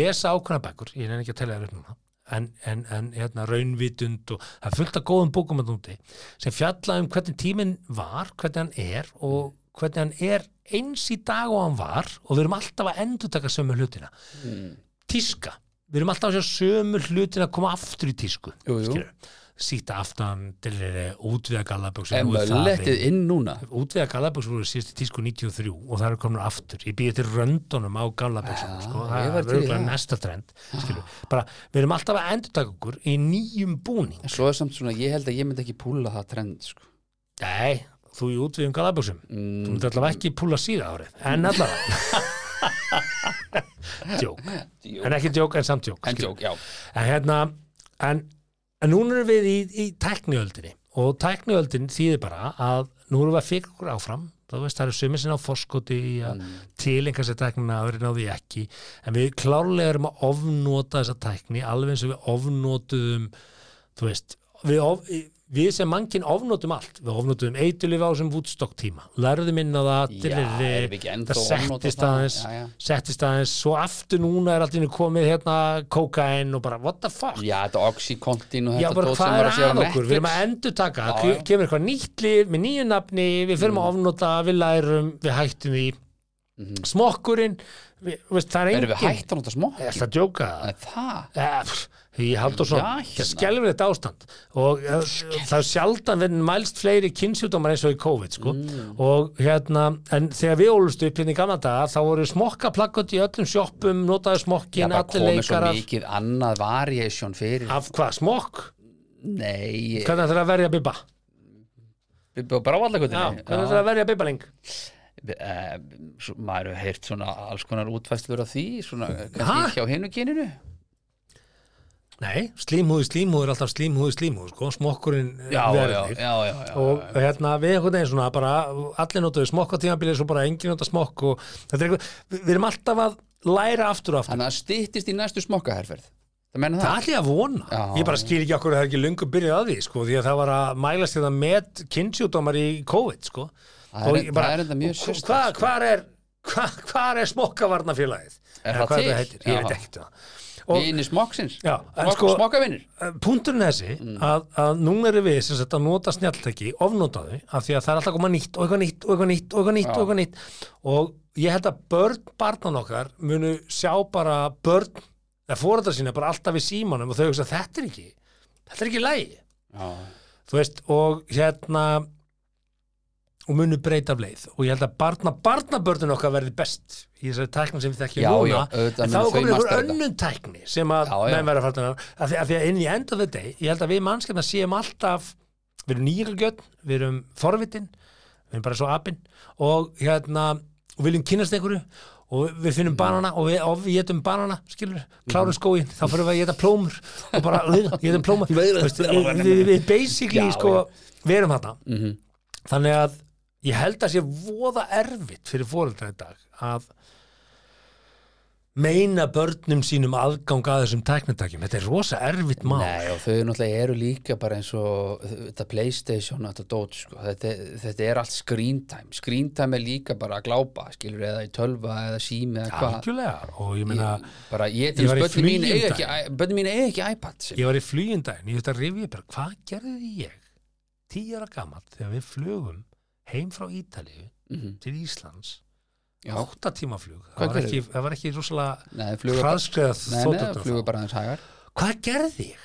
B: lesa ákveðna bækur ég nefn ekki að telja þér upp núna en, en, en hérna, raunvitund og það er fullt af góðum bókum að núti sem fjalla um hvernig tíminn var, hvernig hann er og hvernig hann er eins í dag og hann var og við erum alltaf að endurtaka sömu hlutina
D: Mm.
B: tíska, við erum alltaf að sjá sömu hlutina að koma aftur í tísku
D: Jú, jú.
B: skilurðu. síta aftan til útviða gallaböksu
D: en mögletið inn núna
B: útvega galaböksur voru síðust í tísku 93 og það eru komin aftur, ég býði til röndunum á galaböksum,
D: Já, Ah.
B: sko,
D: ég
B: það
D: var
B: er
D: til í
B: örgulega
D: það.
B: næsta trend skilur, bara, við erum alltaf að endurtaka okkur í nýjum búning
D: en svo er samt svona, ég held að ég myndi ekki púla það trend sko.
B: nei, þú í útvegum galaböksum
D: Mm.
B: þú myndir allavega ekki púla síða árið en
D: [laughs]
B: allavega djók,
D: en
B: en ekki djók en samt djók skilur.
D: joke, já
B: en hérna en, en núna erum við í, í tækniöldinni og tækniöldin þýðir bara að nú erum við að fika okkur áfram þá veist það eru sumir sinna á forskoti í að mm. tilenga sér tæknina aðurinn á því ekki en við klárlega erum að ofnota þessa tækni alveg eins og við ofnotuðum þú veist við, of, við sem mannkinn ofnotum allt við ofnotum eitulif á þessum Woodstock tíma lærðum inn á það
D: Já,
B: dilleri,
D: erum við ekki ennþá
B: það
D: að ofnota
B: settist
D: það?
B: aðeins
D: Já, já.
B: settist aðeins, svo aftur núna er allir komið hérna kókain og bara what the fuck
D: Já, þetta Oxycontin og
B: Já,
D: þetta
B: bara
D: dót sem
B: hvað
D: var
B: er
D: að sé á
B: að okkur, við erum að
D: Netflix.
B: endur taka
D: Já, já. Mm.
B: kemur eitthvað nýtt líf með nýju nafni, við förum að ofnota við lærum, við hættum því smokkurinn við, þú veist, það er engin
D: Mhm. Erum við hægt að nota smokk?
B: Ertu að djóka það?
D: Það?
B: Eh, pff, Ég haldur svo,
D: Já,
B: það er
D: hérna.
B: skelfilegt ástand og eh, það er sjaldan verið mælst fleiri kynnsjúdómar eins og í COVID sko.
D: Mm.
B: og hérna, en þegar við ólust upp hérna í gamla daga, þá voru smokkaplakkot í öllum sjoppum, notaðu
D: Já,
B: smokkin
D: bara
B: allir
D: komið svo
B: leikarar,
D: mikið annað variation fyrir
B: af hvað, smokk?
D: Nei,
B: Hvernig ætlar að verja bibba?
D: við búum bara á
B: Já,
D: allakotinu
B: hvernig ætlar að verja bibbaling?
D: Maður hefur heyrt svona alls konar útfæstlur af því svona,
B: Ha?
D: kannski hjá hinu kyninu
B: Nei, slímhúði, slímhúði er alltaf slímhúði, slímhúði, sko, smokkurinn eh,
D: já, já,
B: verður
D: já,
B: þig.
D: já, já, já.
B: og hérna við einhvern veginn svona bara allir notaðu smokk á tímabilið svo bara engin nota smokk og þetta er einhver, við við erum alltaf að læra aftur og aftur,
D: Þannig að stýttist í næstu smokkaherferð Það menna
B: það
D: það?
B: ætla ég að vona
D: Já.
B: ég bara skil ekki okkur að það er ekki lungu byrjuð að því sko, því að það var að mælast þetta með kynnsjúdómar í COVID sko.
D: Það er-
B: Og ég
D: það er enda mjög sérstakt, sko.
B: hvað, hvað er hvað, hvað er smokkavarnafélagið
D: Er
B: Eða
D: það
B: hvað
D: til?
B: þetta heitir, ég
D: Já.
B: veit ekkert um það og
D: Vini smokksins
B: Já, en
D: Smok,
B: sko-
D: Smokkavinir
B: Eh, punkturinn er þessi
D: Mm.
B: að, að núna erum við sem sagt að nota snjalltæki ofnota þau af því að það er alltaf að koma nýtt og eitthvað nýtt og eitthvað nýtt og eitthvað nýtt og eitthvað nýtt og ég held að börn barnan okkar munu sjá bara börn eða fóreldra sína bara alltaf við símanum og þau hugsa þetta er ekki þetta er ekki lægi
D: Já,
B: þú veist og hérna og munu breyta af leið og ég held að barna barnabörnin okkar verði best í þessari tækni sem við þekkjum
D: Já,
B: núna
D: já, auðvitað
B: en þá er
D: munu þau
B: komin einhver
D: mastera þetta.
B: önnun tækni sem að
D: Já, já.
B: menn verða fartin að, að, því- að því að inn í end of the day ég held að við mannskjarnar séum alltaf við erum nýjölgjörn, við erum forvitin við erum bara svo apinn og hérna, og viljum kynast einhverju og við finnum banana og við, og við getum banana, skilur,
D: Mhm.
B: klárum skóin þá fyrir við að geta plómur og bara getum
D: [laughs]
B: plómur
D: Veira-
B: Veistu, við, við, við basically
D: Já, Mhm.
B: sko, við erum þarna þannig að ég held að sé voða erfitt fyrir fóreldra í dag að meina börnum sínum aðgang að þessum tæknitækjum þetta er rosa erfitt mál
D: Nei, og þau náttúrulega eru líka bara eins og þetta Playstation og þetta dót sko. þetta, þetta er allt screen time screen time er líka bara að glápa skilur, eða í tölva eða sími eða hvað
B: algjörlega og ég meina
D: bara ég
B: Ég
D: til
B: var í
D: spötni mín
B: flugi um
D: eiga ekki, börnin mín eiga ekki iPad sem.
B: ég var í flugindaginn, ég veist að rifja upp bara, hvað gerði ég tíu ára gamalt þegar við flugum heim frá Ítalíu
D: Mhm.
B: til Íslands
D: Já.
B: átta tíma flug það
D: Hvað
B: var, ekki,
D: gerðirðu?
B: það var ekki rosalega
D: Nei, flugur bara,
B: hraðskreðað
D: nei, nei, flugur bara aðeins hægar
B: hvað gerði ég?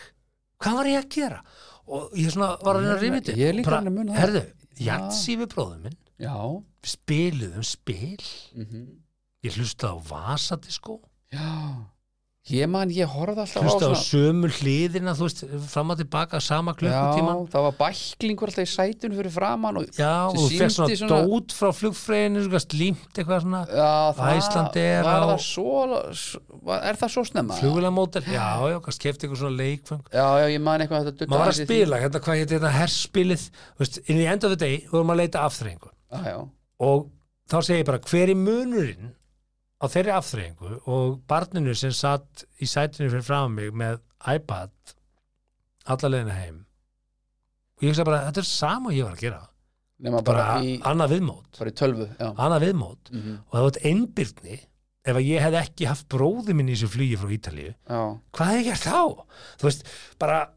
B: Hvað var ég að gera? Og ég svona var að reyna að
D: Ég-
B: rifja þetta upp
D: ég er
B: og
D: líka
B: bara,
D: alveg að muna það.
B: Herðu, jatsi við bróðum minn
D: Já,
B: við spiluðum spil
D: mhm.
B: ég hlustaði á vasadisko
D: já Ég man, ég horfði alltaf
B: hlustaði á sömu hliðina þú veist, fram og tilbaka sama klukkutíman
D: Já, það var bæklingur alltaf í sætun fyrir framann og
B: Já,
D: sem
B: og þú fekk
D: sýndi
B: svona, dót frá flugfræðinu, svona slímt eitthvað svona
D: Já, það
B: Æsland er
D: var
B: á-
D: það svo, var- er það svo snemma?
B: flugvélamódel, já, já, kannski kefti eitthvað svona leikfeng
D: Já, já, ég man eitthvað að þetta dutta
B: maður var að
D: aðeins í því.
B: spila, hérna, hvað hétt þetta herspilið, þú veist, inn í end of the day vorum að leita afþreyingu
D: Já, já,
B: og þá segi ég bara, hver er munurinn á þeirri afþreyingu og barninu sem satt í sætinu fyrir frá mig með iPad alla leiðina heim og ég hugsa bara, þetta er sama og ég var að gera
D: nema bara,
B: bara
D: í,
B: annað viðmót
D: bara í tölvu já.
B: annað viðmót
D: Mhm.
B: og það var einbyrni ef að ég hef ekki haft bróði minn í þessu flugi frá Ítalíu
D: já,
B: hvað hef ég gert þá? þú veist, bara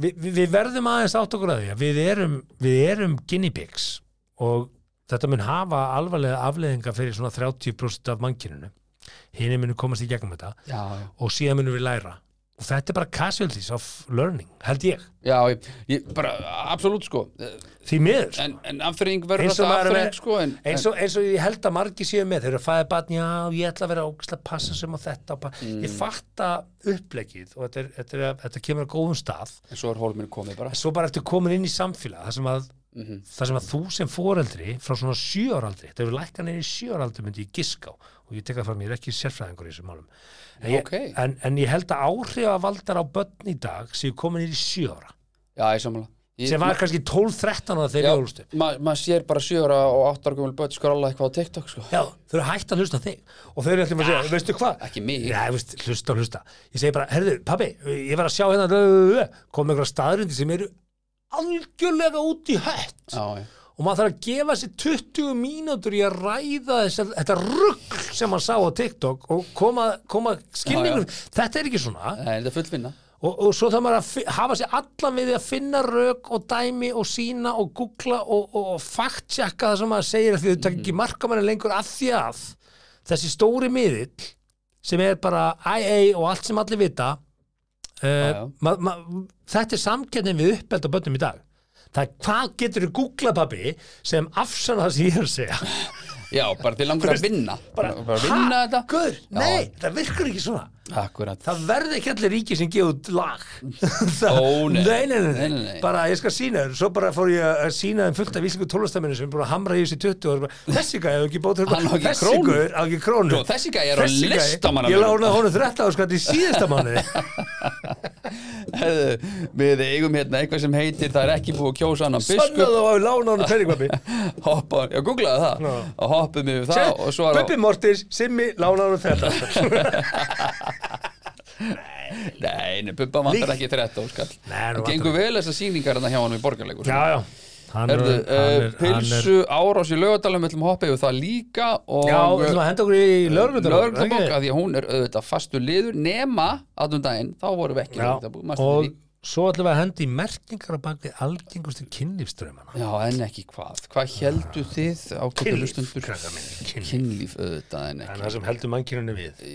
B: við, við, við verðum aðeins átt okkur að því að við erum, við erum guinea pigs og þetta mun hafa alvarlega afleðinga fyrir svona 30% af mannkyninu hinn munum komast í gegnum þetta
D: já, já,
B: og síðan munum við læra og þetta er bara casualties of learning held ég,
D: já ég, ég, bara, absolutt sko
B: því miður
D: en, en afturring verður
B: Eins og
D: þetta
B: maður er-
D: afturring sko en,
B: eins og, eins og ég held að margir séu með þeir eru að fæða batn, já, ég ætla að vera ógæslega passa sem á þetta, og pa-
D: Mm.
B: ég fatta upplegið og þetta, er, þetta, er, þetta kemur að góðum stað,
D: en, en svo er hólminn komið bara
B: en svo bara ertu komin inn í samfélag, þar sem að
D: Mhm.
B: þar sem að þú sem foreldri frá svona sjóraldri, þetta eru lækkan inn í sjóraldri myndi ég giska á, og ég tek það fram ég er ekki sérfræðingur í þessum málum en ég,
D: ok.
B: en, en ég held að áhrifavaldar á börn í dag séu komin inn í sjóra
D: Já, ég sammála Ég-
B: sem var kannski 12-13 ára þegar
D: Já,
B: ég ólstu
D: ma- maður sér bara sjöra og áttar gömul börn skrolla eitthvað á TikTok sko
B: Já, þau eru hægt að hlusta á þig og þau eru alltaf að
D: Ah.
B: segja, veistu hvað?
D: ekki mig.
B: Nei, veist, hlusta, hlusta. Ég segi bara, herðu, pabbi, ég var að sjá hérna rö, rö, rö, kom einhverja staðrundi sem eru algjörlega út í hött
D: Já, já,
B: og maður þarf að gefa sér 20 mínútur í að ræða þess þetta rugg sem hann sá á TikTok og koma, koma skilningur þetta er ekki svona
D: Nei, þetta er fullvinna
B: og, og svo þarf maður að fi- hafa sér allan við því að finna rök og dæmi og sína og googla og, og, og faktjaka það sem maður segir af því þau takk ekki
D: Mhm.
B: markamanni lengur af því að þessi stóri miðill sem er bara IA og allt sem allir vita
D: Já, já.
B: uh, ma, ma, þetta er samkennin við uppeld á bönnum í dag það er hvað getur þú googla pabbi sem afsanna það sem ég er að segja
D: já, bara til langur að vinna bara, bara vinna þetta
B: Guður,
D: Já.
B: nei, það virkar ekki svona
D: akkurat
B: Það verði ekki allir ríki sem gefa út
D: [laughs]
B: lag það,
D: Ó, nei.
B: Nei, nei, nei,
D: Nei, nei, nei.
B: Bara ég skal sína þér Svo bara fór ég að sína þeim fullt af íslengu tólestaminu sem er búin að hamra í þessi 20 og bara, Þessi gæði ekki bótt
D: Hann á ekki
B: Þessi
D: krónu.
B: gæði á ekki krónu
D: Jó, þessi gæi er á
B: Þessi gæi-
D: listamannalaunum.
B: Ég lána honum 13 áskatt í síðasta
D: [laughs]
B: mánuði
D: Heyrðu, við eigum hérna eitthvað sem heitir það er ekki búið að kjósa annan biskup
B: Sannaðu á að lána honum peningvappi
D: [laughs] hoppa, já, googlaðu það
B: Nú.
D: og hoppum yfir það og svo er á
B: Bubbi Mortis, Simmi, lána honum 13
D: [laughs] nei, nei, Bubba vantar
B: Lík-
D: ekki 13 skall
B: Nei, nú
D: það gengur vel þessar sýningar hérna hjá hann í borgarleikur
B: Já, já Hann
D: Herðu, eh,
B: er- hann er- hann er-
D: pilsu árás í lögadalum við ætlum að hoppa yfir það líka og
B: Já, við ætlum að henda okkur í lögregludalum,
D: lögreglubók
B: ekki?
D: að því að hún er auðvitað fastu liður nema aðnum daginn, þá vorum við ekki í
B: Já,
D: lögregludalnum, manstu
B: og
D: því?
B: svo ætlum við að henda í merkingar á bak við algengustu kynlífströmmana
D: Já, en ekki hvað, hvað heldu þið ákvæmdu
B: Kynlíf,
D: hlustundur
B: krakkar mínir, kynlíf.
D: kynlíf auðvitað en
B: En
D: ekki
B: það sem heldur mannkynunni við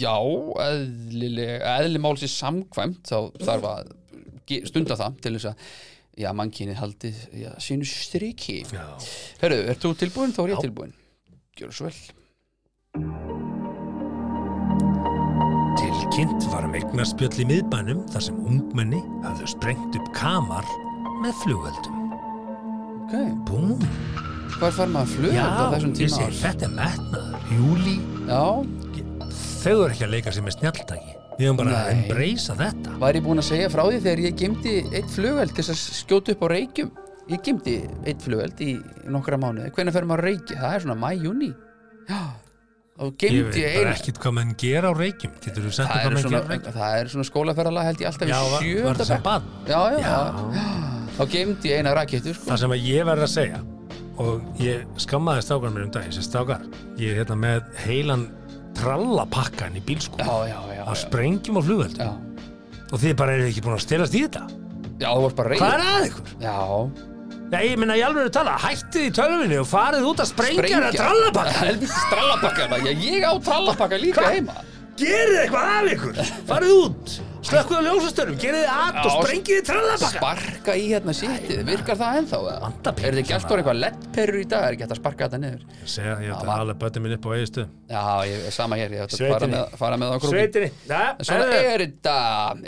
D: já, eðlileg eðli málsi samkvæmt þá þarf að ge- stunda það til þess að já, mannkyni haldi já, sínu striki
B: Já.
D: Herru, ert þú tilbúin? Þá er ég tilbúin Gjörðu svo vel
B: Tilkynnt var um eignarspjöll í miðbænum þar sem ungmenni hafðu sprengt upp kamar með flugöldum.
D: okay.
B: Búm!
D: Hvar fær maður flug
B: Já,
D: á þessum
B: ég
D: tíma?
B: segir þetta er metnaður. Júli,
D: Já,
B: þau eru ekki að leika sér með snjalltæki. Við höfum bara að
D: Nei.
B: embracea þetta.
D: var ég búin að segja frá því þegar ég gemdi eitt flugveld til þess að skjóta upp á reykjum Ég gemdi eitt flugveld í nokkra mánuði Hvernig fer maður að reykja? Það er svona mæ, júni Já,
B: Ég
D: og gemdi
B: veit
D: ég
B: bara
D: eina
B: ekkit hvað menn gera á reykjum. Getur þú sagt
D: Það
B: hvað
D: eru
B: menn
D: svona,
B: gera á reykjum?
D: það er svona skólaferðalega held ég alltaf
B: Já,
D: í
B: var, var
D: sjönda
B: það sem bann?
D: Já, já,
B: Já.
D: Þá gemdi ég eina rakettu sko.
B: Það sem að ég verð að segja og ég skammaði stákar mér um dag ég segi stákar, ég er hérna með heilan trallapakkan í bílskúr
D: Já, já, já,
B: að
D: já.
B: sprengjum á flugöldum
D: já
B: og þið bara eru ekki búin að stelast í þetta
D: Já, þú varst bara
B: hvað
D: reyð
B: er að ykkur?
D: Já,
B: Nei, ég minna ég alveg að tala, hættið í tölvinni og farið út að sprengja hana
D: [laughs]
B: trallabakka
D: Helvítið trallabakka Já, ég á trallabakka líka heima
B: gerið eitthvað af ykkur, farið út slökkuð á ljósastörum, gerið þið að og
D: Já,
B: sprengið þið trallabakka
D: Sparka í hérna sítið, virkar það ennþá? eða?
B: Vanda
D: Er þetta ekki
B: píkjana.
D: allt orðið eitthvað lettperur í dag? Er ekki hægt að sparka þetta niður?
B: segja, ég ætla
D: var-
B: að alveg bötið minn upp á eigistu
D: Já, ég er sama hér, ég ætla að
B: Sveitinni.
D: fara með, fara með það á króki
B: sveitinni,
D: En Svona
B: það
D: er þetta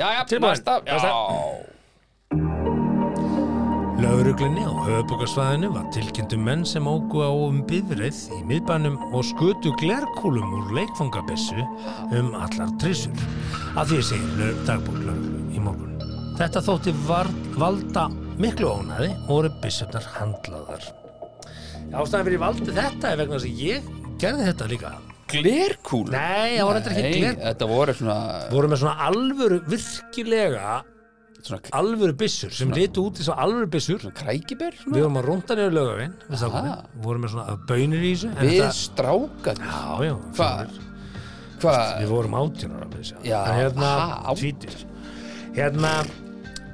D: Já, já,
B: Tilbúin,
D: næsta Já,
B: Laugruglinni á höfubokarsvæðinu var tilkynntu menn sem ógu á um bifrið í miðbænum og skutu glerkúlum úr leikfangabessu um allar trissur. Að því segir lög dagbúk lauruglu í morgun. Þetta þótti var, valda miklu ónaði og voru byssunar handlaðar. Ástæðan fyrir ég valdi þetta er vegna þess að ég gerði þetta líka.
D: glerkúl
B: Nei, það voru þetta ekki
D: Nei,
B: glerkúlum.
D: þetta voru svona,
B: Voru með svona alvöru, virkilega
D: svona
B: alvöru byssur sem litu út í svo alvöru byssur
D: krækibér
B: Við
D: svona.
B: vorum að rúnda niður lögavinn við strákunum, vorum með svona bönir í þessu en
D: Ah. Við
B: þetta-
D: strákað
B: Já, já,
D: Hvað?
B: fjórir.
D: Hvað?
B: Við vorum átjónar af þessu
D: Já,
B: En
D: ha,
B: Hérna,
D: á-
B: tvítir Hérna,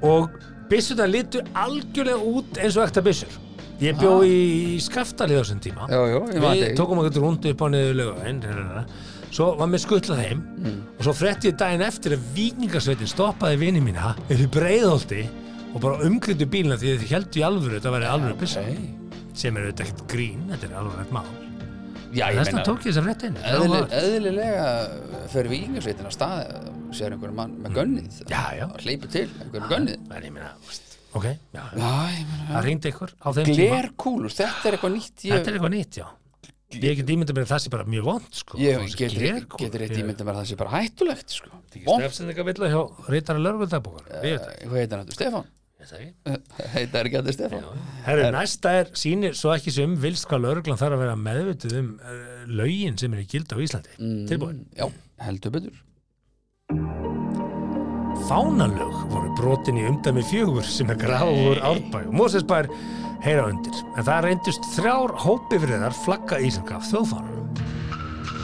B: og byssuna litu algjörlega út eins og ekta byssur Ég
D: Ah.
B: bjó í skaftalið á þessum tíma
D: Já, já, ég man
B: Við
D: þig.
B: tókum okkur rúndu upp á niður lögavinn Svo var mér skutlað heim
D: Mm.
B: og svo frétti ég daginn eftir að vikingasveitin stoppaði vini mína upp í breiðholti og bara umkryttu bílina því þið heldu í alvöru þetta væri alvöru byssa
D: Nei.
B: sem er auðvitað ekkert grín, þetta er alveg rétt mál
D: Já, ég
B: þess vegna
D: meina
B: tók ég þess að rétt einu
D: eðli, Eðlilega fyrir vikingarsveitin að stað sér einhver mann með gönnið
B: Já, já.
D: og hleypur til einhver með gönnið
B: en ég meina, veist, ok já, já.
D: Já, ég meina
B: það ringdi ykkur á þeim tíma
D: Glerkúlur, þetta er eitthvað nýtt
B: þetta
D: ég,
B: er eitthvað nýtt, já ég get ímynda mér að það sé bara mjög vond sko,
D: ég
B: Fá sér
D: getur
B: glerkúl.
D: getur eitt
B: Ég-
D: ímynda mér að það sé bara hættulegt sko.
B: Ég
D: Vont,
B: stefsinn eitthvað vilja hjá reytara lörgundabókar við veit
D: hvað heitir hann aftur? Stefan?
B: það ekki
D: [laughs] heitar ekki að þetta Stefan
B: Herru, næsta er sýnir svo ekki sem vilst hvað lörglan þarf að vera meðvituð um uh, lögin sem er í gild á Íslandi mm. tilbúin
D: Já, heldur betur
B: Fánalög voru brotin í umdæmi fjögur sem er gráður árbæ og Mósesbær heyra undir. En það reyndust þrjár hópifriðar flagga Íslandka af þjóðfánanum.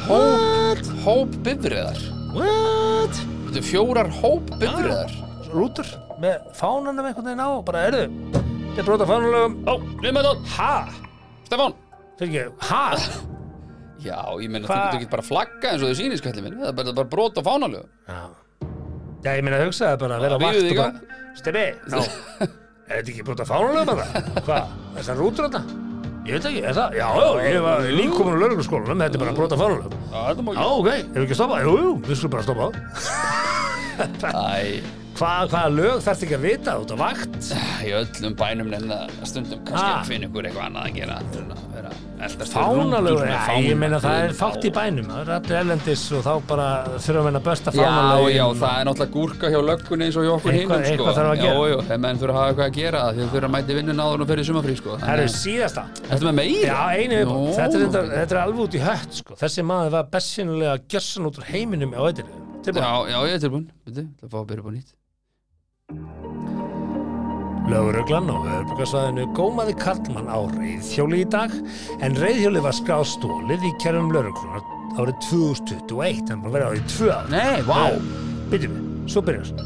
D: Hóp, hóp bifriðar
B: What?
D: Þetta er fjórar hóp bifriðar
B: Ah, Rútur með fánanum einhvern veginn á og bara erðu. Þetta er brota fánalögum.
D: Ó, við með það,
B: Ha?
D: Stefan
B: Fyrir ekki, ha?
D: Já, ég meina þú
B: Hva?
D: getur ekki bara flagga eins og þau sýnir skallið minn Það er bara, bara brot á fánalög
B: Já. Já, ég meina hugsaði bara að vera
D: Já,
B: á vakt
D: við
B: og
D: þig
B: bara, Steffi, já, er þetta ekki brota fánalögum að það? Hvað? Þessar rútur þarna? Ég veit ekki, er það? Já, já, ég var líkomin á lauruglaskólanum, þetta er bara að brota farlunum.
D: Já, þetta má
B: Já, ok, hefur ekki stoppað? Jú, jú, við skulum bara stoppa það.
D: Æ,
B: Hva, hvaða lög þarfst ekki að vita út á vakt?
D: í öllum bænum nefna stundum kannski
B: Ha.
D: að finna ykkur eitthvað annað að gera heldur en að vera eldast
B: Ah. Fánalög, já, ég meina það er fátt í bænum, það er allir erlendis og þá bara þurfum við að besta
D: Já,
B: fánalög.
D: já, það er náttúrulega gúrka hjá löggunni eins og hjá okkur
B: Eitthvað-
D: hinum, sko.
B: eitthvað þarf að gera.
D: Já, já, en menn þurfa að hafa eitthvað að gera því að þurfa að mæti vinnun áður og fyrir sumafrí, sko.
B: Það eru síðasta.
D: Þetta með meira?
B: Já, einu viðbótt.
D: Nú.
B: Þetta, er reyndar- þetta er alveg út í hött, sko. Þessi maður var bessinulega gjössan út úr heiminum á eitthinu. Tilbúin.
D: Já, já, ég er tilbúin. Veitu, það fá að byrja upp á nýtt.
B: Löguröglan og örbjörgarsvæðinu gómaði Karlmann á reyðhjóli í dag en reyðhjóli var skráð stólið í kerfum löguröglunar árið 2021 þannig að vera árið 2 ár
D: Nei, vá!
B: Býtum við, svo byrjast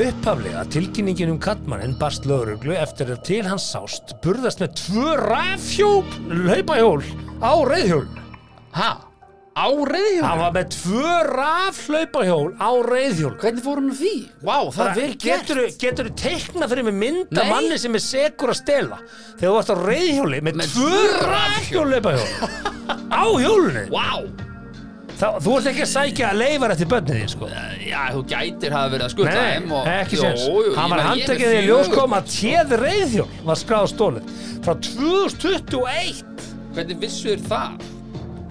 B: Upphaflega tilkynningin um Karlmannin barst löguröglu eftir að til hans sást burðast með tvö rafhjúp hlaupahjól á reyðhjólinu
D: Ha? Á reyðhjól?
B: Hann var með tvö rafhlaupahjól á reyðhjól
D: Hvernig fór hann úr því? Vá, það er vel gert.
B: Geturðu getur teikna fyrir mig mynd af
D: Nei.
B: manni sem er segur að stela þegar þú varst á reyðhjóli með,
D: Með
B: tvö
D: tvö rafhjól. [laughs]
B: rafhjólleipahjól á hjólinu
D: Vá!
B: Þá, þú ert ekki að sækja að leifar eftir börnið þín sko
D: Eh, Já, þú gætir hafa verið að skutta
B: Nei,
D: þeim og...
B: ekki
D: Jú,
B: séns
D: jú, ég
B: Hann var
D: meina, ég er
B: handtekið
D: með
B: í ljós
D: fjögur.
B: kom að téð reyðhjól var skráð stólið frá 2021
D: Hvernig vissu þér það?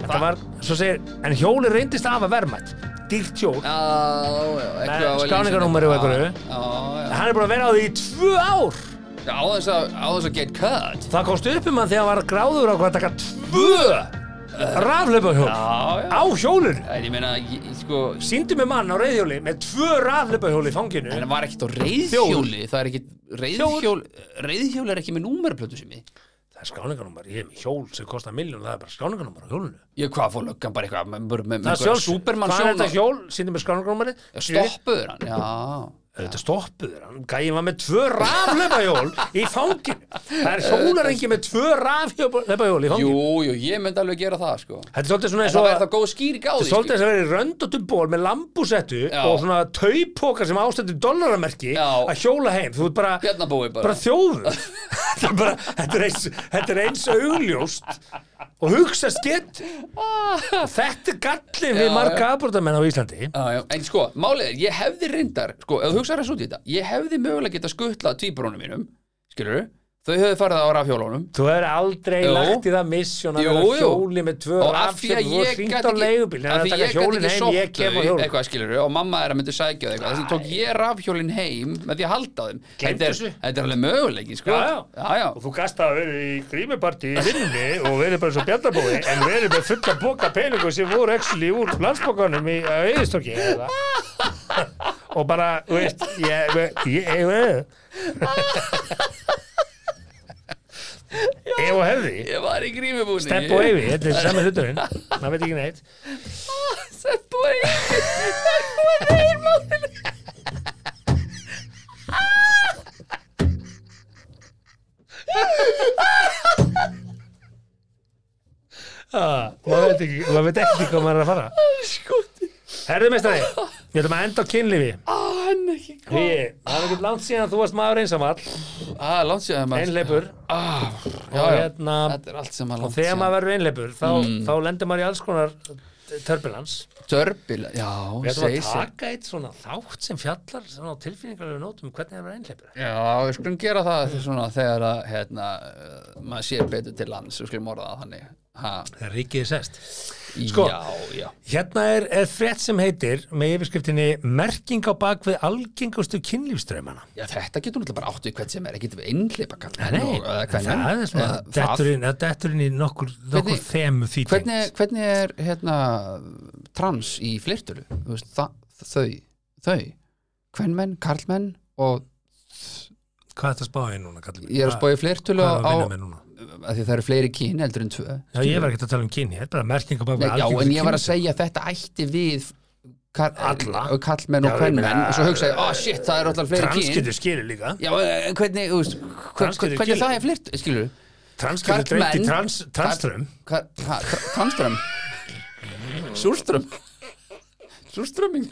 B: Þetta var, svo segir, en hjóli reyndist af að verðmætt dýrt hjól
D: Já, já,
B: Nei,
D: eitthvað var lýsandi.
B: skráningarnúmerið og
D: Já,
B: einhverju.
D: Já, já.
B: Hann er búin að vera á því í tvö ár
D: Já, Á þess að, á þess að get cut.
B: Það komst upp um hann þegar hann var gráður á hvað að taka tvö rafleipahjól
D: Já, já.
B: á hjólinu
D: En ég meina, ég, sko,
B: Sýndu mig mann á reyðhjóli með tvö rafleipahjóli í fanginu
D: en það var ekkert á reyðhjóli, það er ekkert, reyðhjól, reyðhjól er ekki með númerplötu sem ég.
B: Það er skráningarnúmar, ég hef mig hjól sem kostar miljón það er bara skráningarnúmar á hjólinu
D: Ég, hvað fór löggan bara eitthvað, með, með, með,
B: Það er sjálf,
D: supermann
B: hvað er þetta hjól, sýndu mig skráningarnúmari
D: Stoppuður hann, já.
B: Þetta stoppuður, hann gæði var með tvö rafleipahjól í fanginu Það er hjólarengi með tvö rafleipahjól í fanginu
D: Jú, jú, ég myndi alveg gera það, sko.
B: Þetta er svolítið svona
D: En
B: eins
D: það
B: og
D: væri
B: að-
D: það góð skýring á
B: Þetta
D: því,
B: er
D: sko.
B: svolítið þess að vera í röndotum ból með lambúsettu
D: Já.
B: og svona taupoka sem ástættu dollaramerki
D: Já.
B: að hjóla heim. Þú ert bara,
D: Bjarnabói bara.
B: bara þjóður. [laughs] þetta, er bara, þetta, er eins, þetta er eins augljóst og hugsa skett. þetta er gallin við
D: Ah. Já,
B: marga afbrotamenn á Íslandi.
D: Já, já, en sko, málið er, ég hefði reyndar, sko, ef þú hugsaður að svo til þetta, ég hefði mögulega geta skutlað tvíbrónum mínum, skilur þau höfðu farið á rafhjólunum.
B: Þú hefur aldrei
D: Jú.
B: lagt í það misjón að
D: Jú,
B: vera
D: jú.
B: hjóli með tvö
D: Og af því
B: rafsjöfn
D: að
B: og
D: ég
B: hringt
D: gat
B: á
D: ekki,
B: leigubíl.
D: af
B: Það er að
D: því ég
B: taka
D: gat
B: hjólin
D: ekki
B: heim, ég
D: sótt
B: kem á
D: þau,
B: hjólin.
D: eitthvað skilur og mamma er að myndi sækja þau eitthvað, þess að tók ég rafhjólin heim með því að halda á þeim.
B: Gleymdu
D: Þetta er,
B: þessu.
D: þetta er alveg mögulegi, sko.
B: Já, já.
D: já,
B: og þú gasta að vera í grímuparti í vinnunni og verið bara svo bjarnabói en verið með fulla boka peningu sem voru actually úr landsbókanum í auðistokki og bara, þú veist ég, ég, ég, ég ef og hefði
D: Ég var í grímubúni.
B: Depp og
D: [laughs]
B: Eyvi, þetta er sami hluturinn maður veit ekki neitt
D: Sepp og Eyvi. Sepp og Eyvi er málið.
B: Ah, maður veit ekki, maður veit ekki hvað maður er að fara
D: Skoti.
B: Herðu meistari, við ætlum að enda á kynlífi
D: sko. Á, hann er ekki
B: Því,
D: kom.
B: það er ekkert langt síðan þú varst maður einsamall
D: Á, Ah, langt sér að maður.
B: einleipur
D: Á, já,
B: og
D: já.
B: hérna
D: Þetta er allt sem að
B: og
D: langt
B: þegar
D: síðan. Mm.
B: maður verður einleipur þá, þá lendir maður í alls konar turbulence
D: Dörbila, já,
B: við ætlum
D: segi
B: að
D: sér
B: taka eitt svona þátt sem fjallar svona á tilfinningarlegu nótum um hvernig það er að vera einleipur
D: Já, við skulum gera það svona þegar að, hérna, uh, maður sér betur til lands, við skulum orða það þannig ha,
B: það ríkið er sest Sko.
D: Já, já
B: hérna er, er frétt sem heitir með yfirskriftinni merking á bak við algengustu kynlífströmmana
D: Já, þetta getur náttúrulega bara átt við hvern sem er, ekki við einhleipa kallar
B: það er svona detturinn dettur inn í nokkur, nokkur
D: Hvernig-
B: þemu þýting
D: hvernig, hvernig er, hérna, trans í flirtölu, þú veist, það, þau, þau, kvenmenn, karlmenn og
B: hvað er þetta að spá í núna? kallinn minn?
D: ég er að
B: Hvað-
D: spóið flirtölu
B: hvað er
D: á,
B: að vinna
D: að
B: með núna?
D: því það eru fleiri kyn heldur en tvö
B: Já, ég var ekkert að tala um kyni, ég er bara merking á bak
D: Nei,
B: við
D: já,
B: algengustu
D: en ég var að
B: kynlífs-
D: segja að þetta ætti við kar,
B: Alla.
D: og kallmenn
B: Já,
D: og kvenmenn
B: ég-
D: og svo hugsaði, ah shit, það eru allar fleiri kyn
B: Transkynntur skilur líka
D: Já, en hvernig, þú veist, hver-
B: Transkynntur
D: hvernig
B: kyn.
D: það er flirt, skilur
B: Transkynntur dreift í trans, tranströmm
D: Tranström Súrström Súrströmming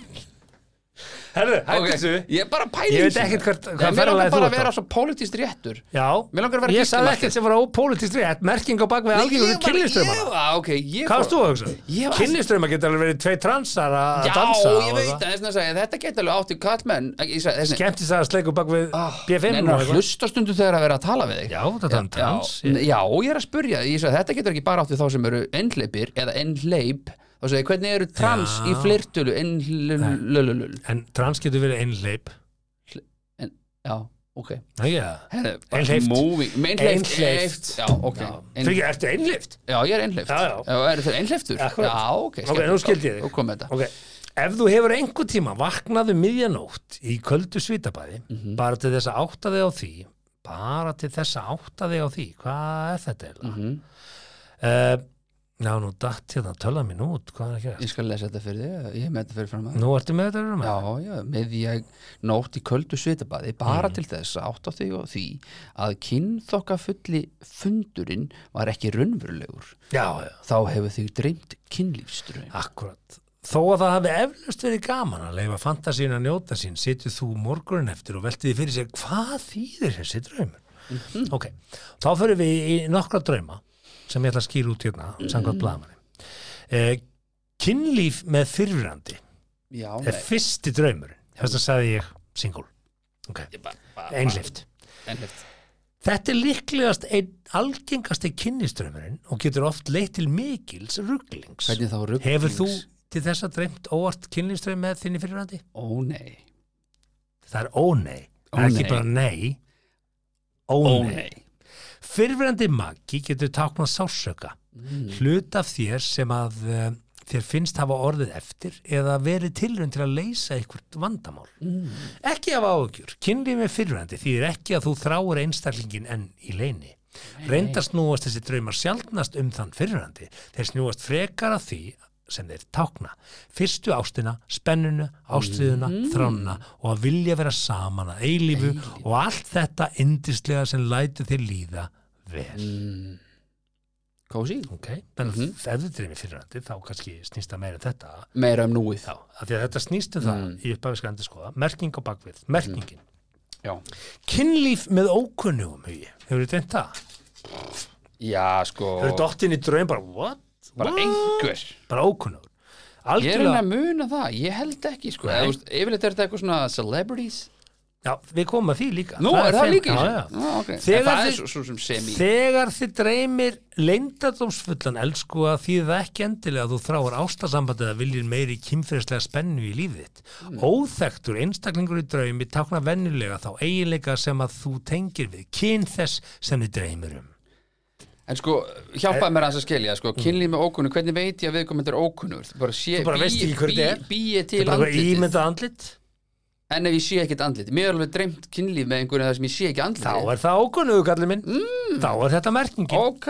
A: Herðu, hættu þessu
D: okay. Ég er bara pæling
B: Ég veit ekkert hvert- hvað
D: Mér
B: ferðalagið þú ert
D: langar bara að
B: á.
D: vera svo pólitískt réttur
B: Já,
D: Mig langar að vera
B: ég
D: gift um
B: sagði
D: allt.
B: ekkert sem var ópólitískt rétt, merking á bak við
D: Nei,
B: algengur
D: ég var-
B: kynliströmmar.
D: ég- á, ok, ég
B: um Hvað
D: fór-
B: varst þú að hugsa?
D: Ég var-
B: Kynliströmmar geta alveg verið tvei transar að
D: Já,
B: að dansa.
D: ég veit það, þess að segja, þetta geta alveg átti kallmenn Ég sagði, þess að
B: Skemmtist að sleiku bak við B5
D: Nennar
B: og
D: Ah, að
B: eitthvað.
D: hlusta stundum þegar að vera að tala við þig
B: Já, þetta er hann trans.
D: já,
B: ég-
D: já, ég er að spurja, ég sagði, þetta getur ekki bara átt við þá sem eru ennleipir eða ennleip þá segir, hvernig eru trans
B: Já.
D: í flirtölu ennlululul
B: En trans getur verið einleip.
D: Já, ok
B: Næja, yeah.
D: Herðu,
B: Einhleypt.
D: moving- Einhleypt
B: Einhleypt.
D: Já, ok Ein,
B: fyrir ertu einleipt?
D: Já, ég er einhleypt
B: Já, já.
D: Er þetta einhleyptur?
B: Akkurat.
D: Já, ok
B: Ok, nú skildi ég þig.
D: Þú kom með þetta
B: Ok, ef þú hefur einhver tíma vaknaðu miðjanótt í köldu svítabæði bara til þess að átta þig á því bara til þess að átta þig á því hvað er þetta eiginlega? Mm
D: Mhm.
B: já, nú datt hérna tölva mín út, hvað er að gera?
D: Ég skal lesa þetta fyrir þig Ég er með þetta fyrir fram að
B: Nú ertu með þetta erum
D: Já, já, með ég nótt í köldu svitabaði
B: Mm.
D: bara til þess að átta þig og því að kynþokkafulli fundurinn var ekki raunverulegur
B: já, já,
D: þá hefur þig dreymt kynlífströym
B: akkurat Þó að það hafi eflust verið gaman að leifa fantasíun að njóta sín, situr þú morgunin eftir og veltið fyrir sér hvað þýðir þessi draumur? Ok, þá fyrir við í nokkra drauma sem ég ætla að skýra út hérna, samkvæmt blaðamanni. Eh, kynlíf með fyrrandi
D: Já,
B: er fyrsti draumurinn, þess að sagði ég single, einlift.
D: Einhleypt
B: Þetta er líklegast einn algengasti kynlífsdraumurinn og getur oft leitt til mikils rugglings.
D: Hvernig þá rugglings?
B: Hefur þú til þess að dreymt óvart kynlífsdraum með þinni fyrirvændi?
D: Ó, nei
B: Það er ónei. Það er
D: Ónei.
B: ekki bara nei.
D: Ó,
B: Ónei.
D: nei
B: Fyrirvændi maki getur táknað sásöka.
D: Mm.
B: Hlut af þér sem að uh, þér finnst hafa orðið eftir eða verið tilrönd til að leysa eitthvað vandamál. Ekki af áhugjur. Kynlíf með fyrirvændi þýðir ekki að þú þráir einstaklingin enn í leini. Reyndar snúast þessi draumar sjaldnast um þann fyrirrandi. Þeir snúast frekar að því sem þeir tákna. Fyrstu ástina, spennuna, ástriðuna, þrána og að vilja vera saman að eilífu og allt þetta indislega sem lætur þér líða vel.
D: Kósi
B: Ok, en ef þú dreymir fyrirrandi þá kannski snýst það meira um þetta.
D: Meira um núið
B: Já, af því að þetta snýst um það í upphæfiska endurskoða. Merking á bakvið, merkingin.
D: Já
B: Kynlíf með ókunnugum hugi. Hefur þið dreymt það?
D: Já, sko
B: Hefur þið dottin í draum bara, what?
D: Bara
B: What?
D: einhver
B: bara ókunnugur
D: Ég er henni
B: algjörlega,
D: að muna það, ég held ekki sko
B: Nei.
D: Eða, þú veist, Yfirleitt er þetta eitthvað svona celebrities
B: já, við komum að því líka
D: Nú, er það
B: þeim-
D: líka í
B: já,
D: þessu?
B: já.
D: Nú, ok. En
B: Þegar
D: Það
B: þið-
D: er svo- svo sem semi
B: þegar þið dreymir leyndardómsfullan elsku að því það ekki endilega að þú þráir ástasambandið að viljir meiri kynfyrirslega spennu í lífið þitt
D: Mm.
B: óþektur einstaklingur í draumi tákna venjulega þá eiginleika sem að þú tengir við kyn þess sem þið dreymir um
D: En sko, hjálpaði mér aðeins að skilja sko, kynlíf með ókunnu, hvernig veit ég að viðkomandi er ókunnur Þú bara, sé,
B: Mm. Þú bara veist ekki hver þetta er.
D: Býið til
B: það er bara
D: andlitið
B: ímynda andlit
D: En ef ég sé ekkit andlitið, mér er alveg dreymt kynlíf með einhverju þar sem ég sé ekki andlitið
B: þá er það ókunnugur kallið minn
D: Mm.
B: þá er þetta merkingin
D: Ok,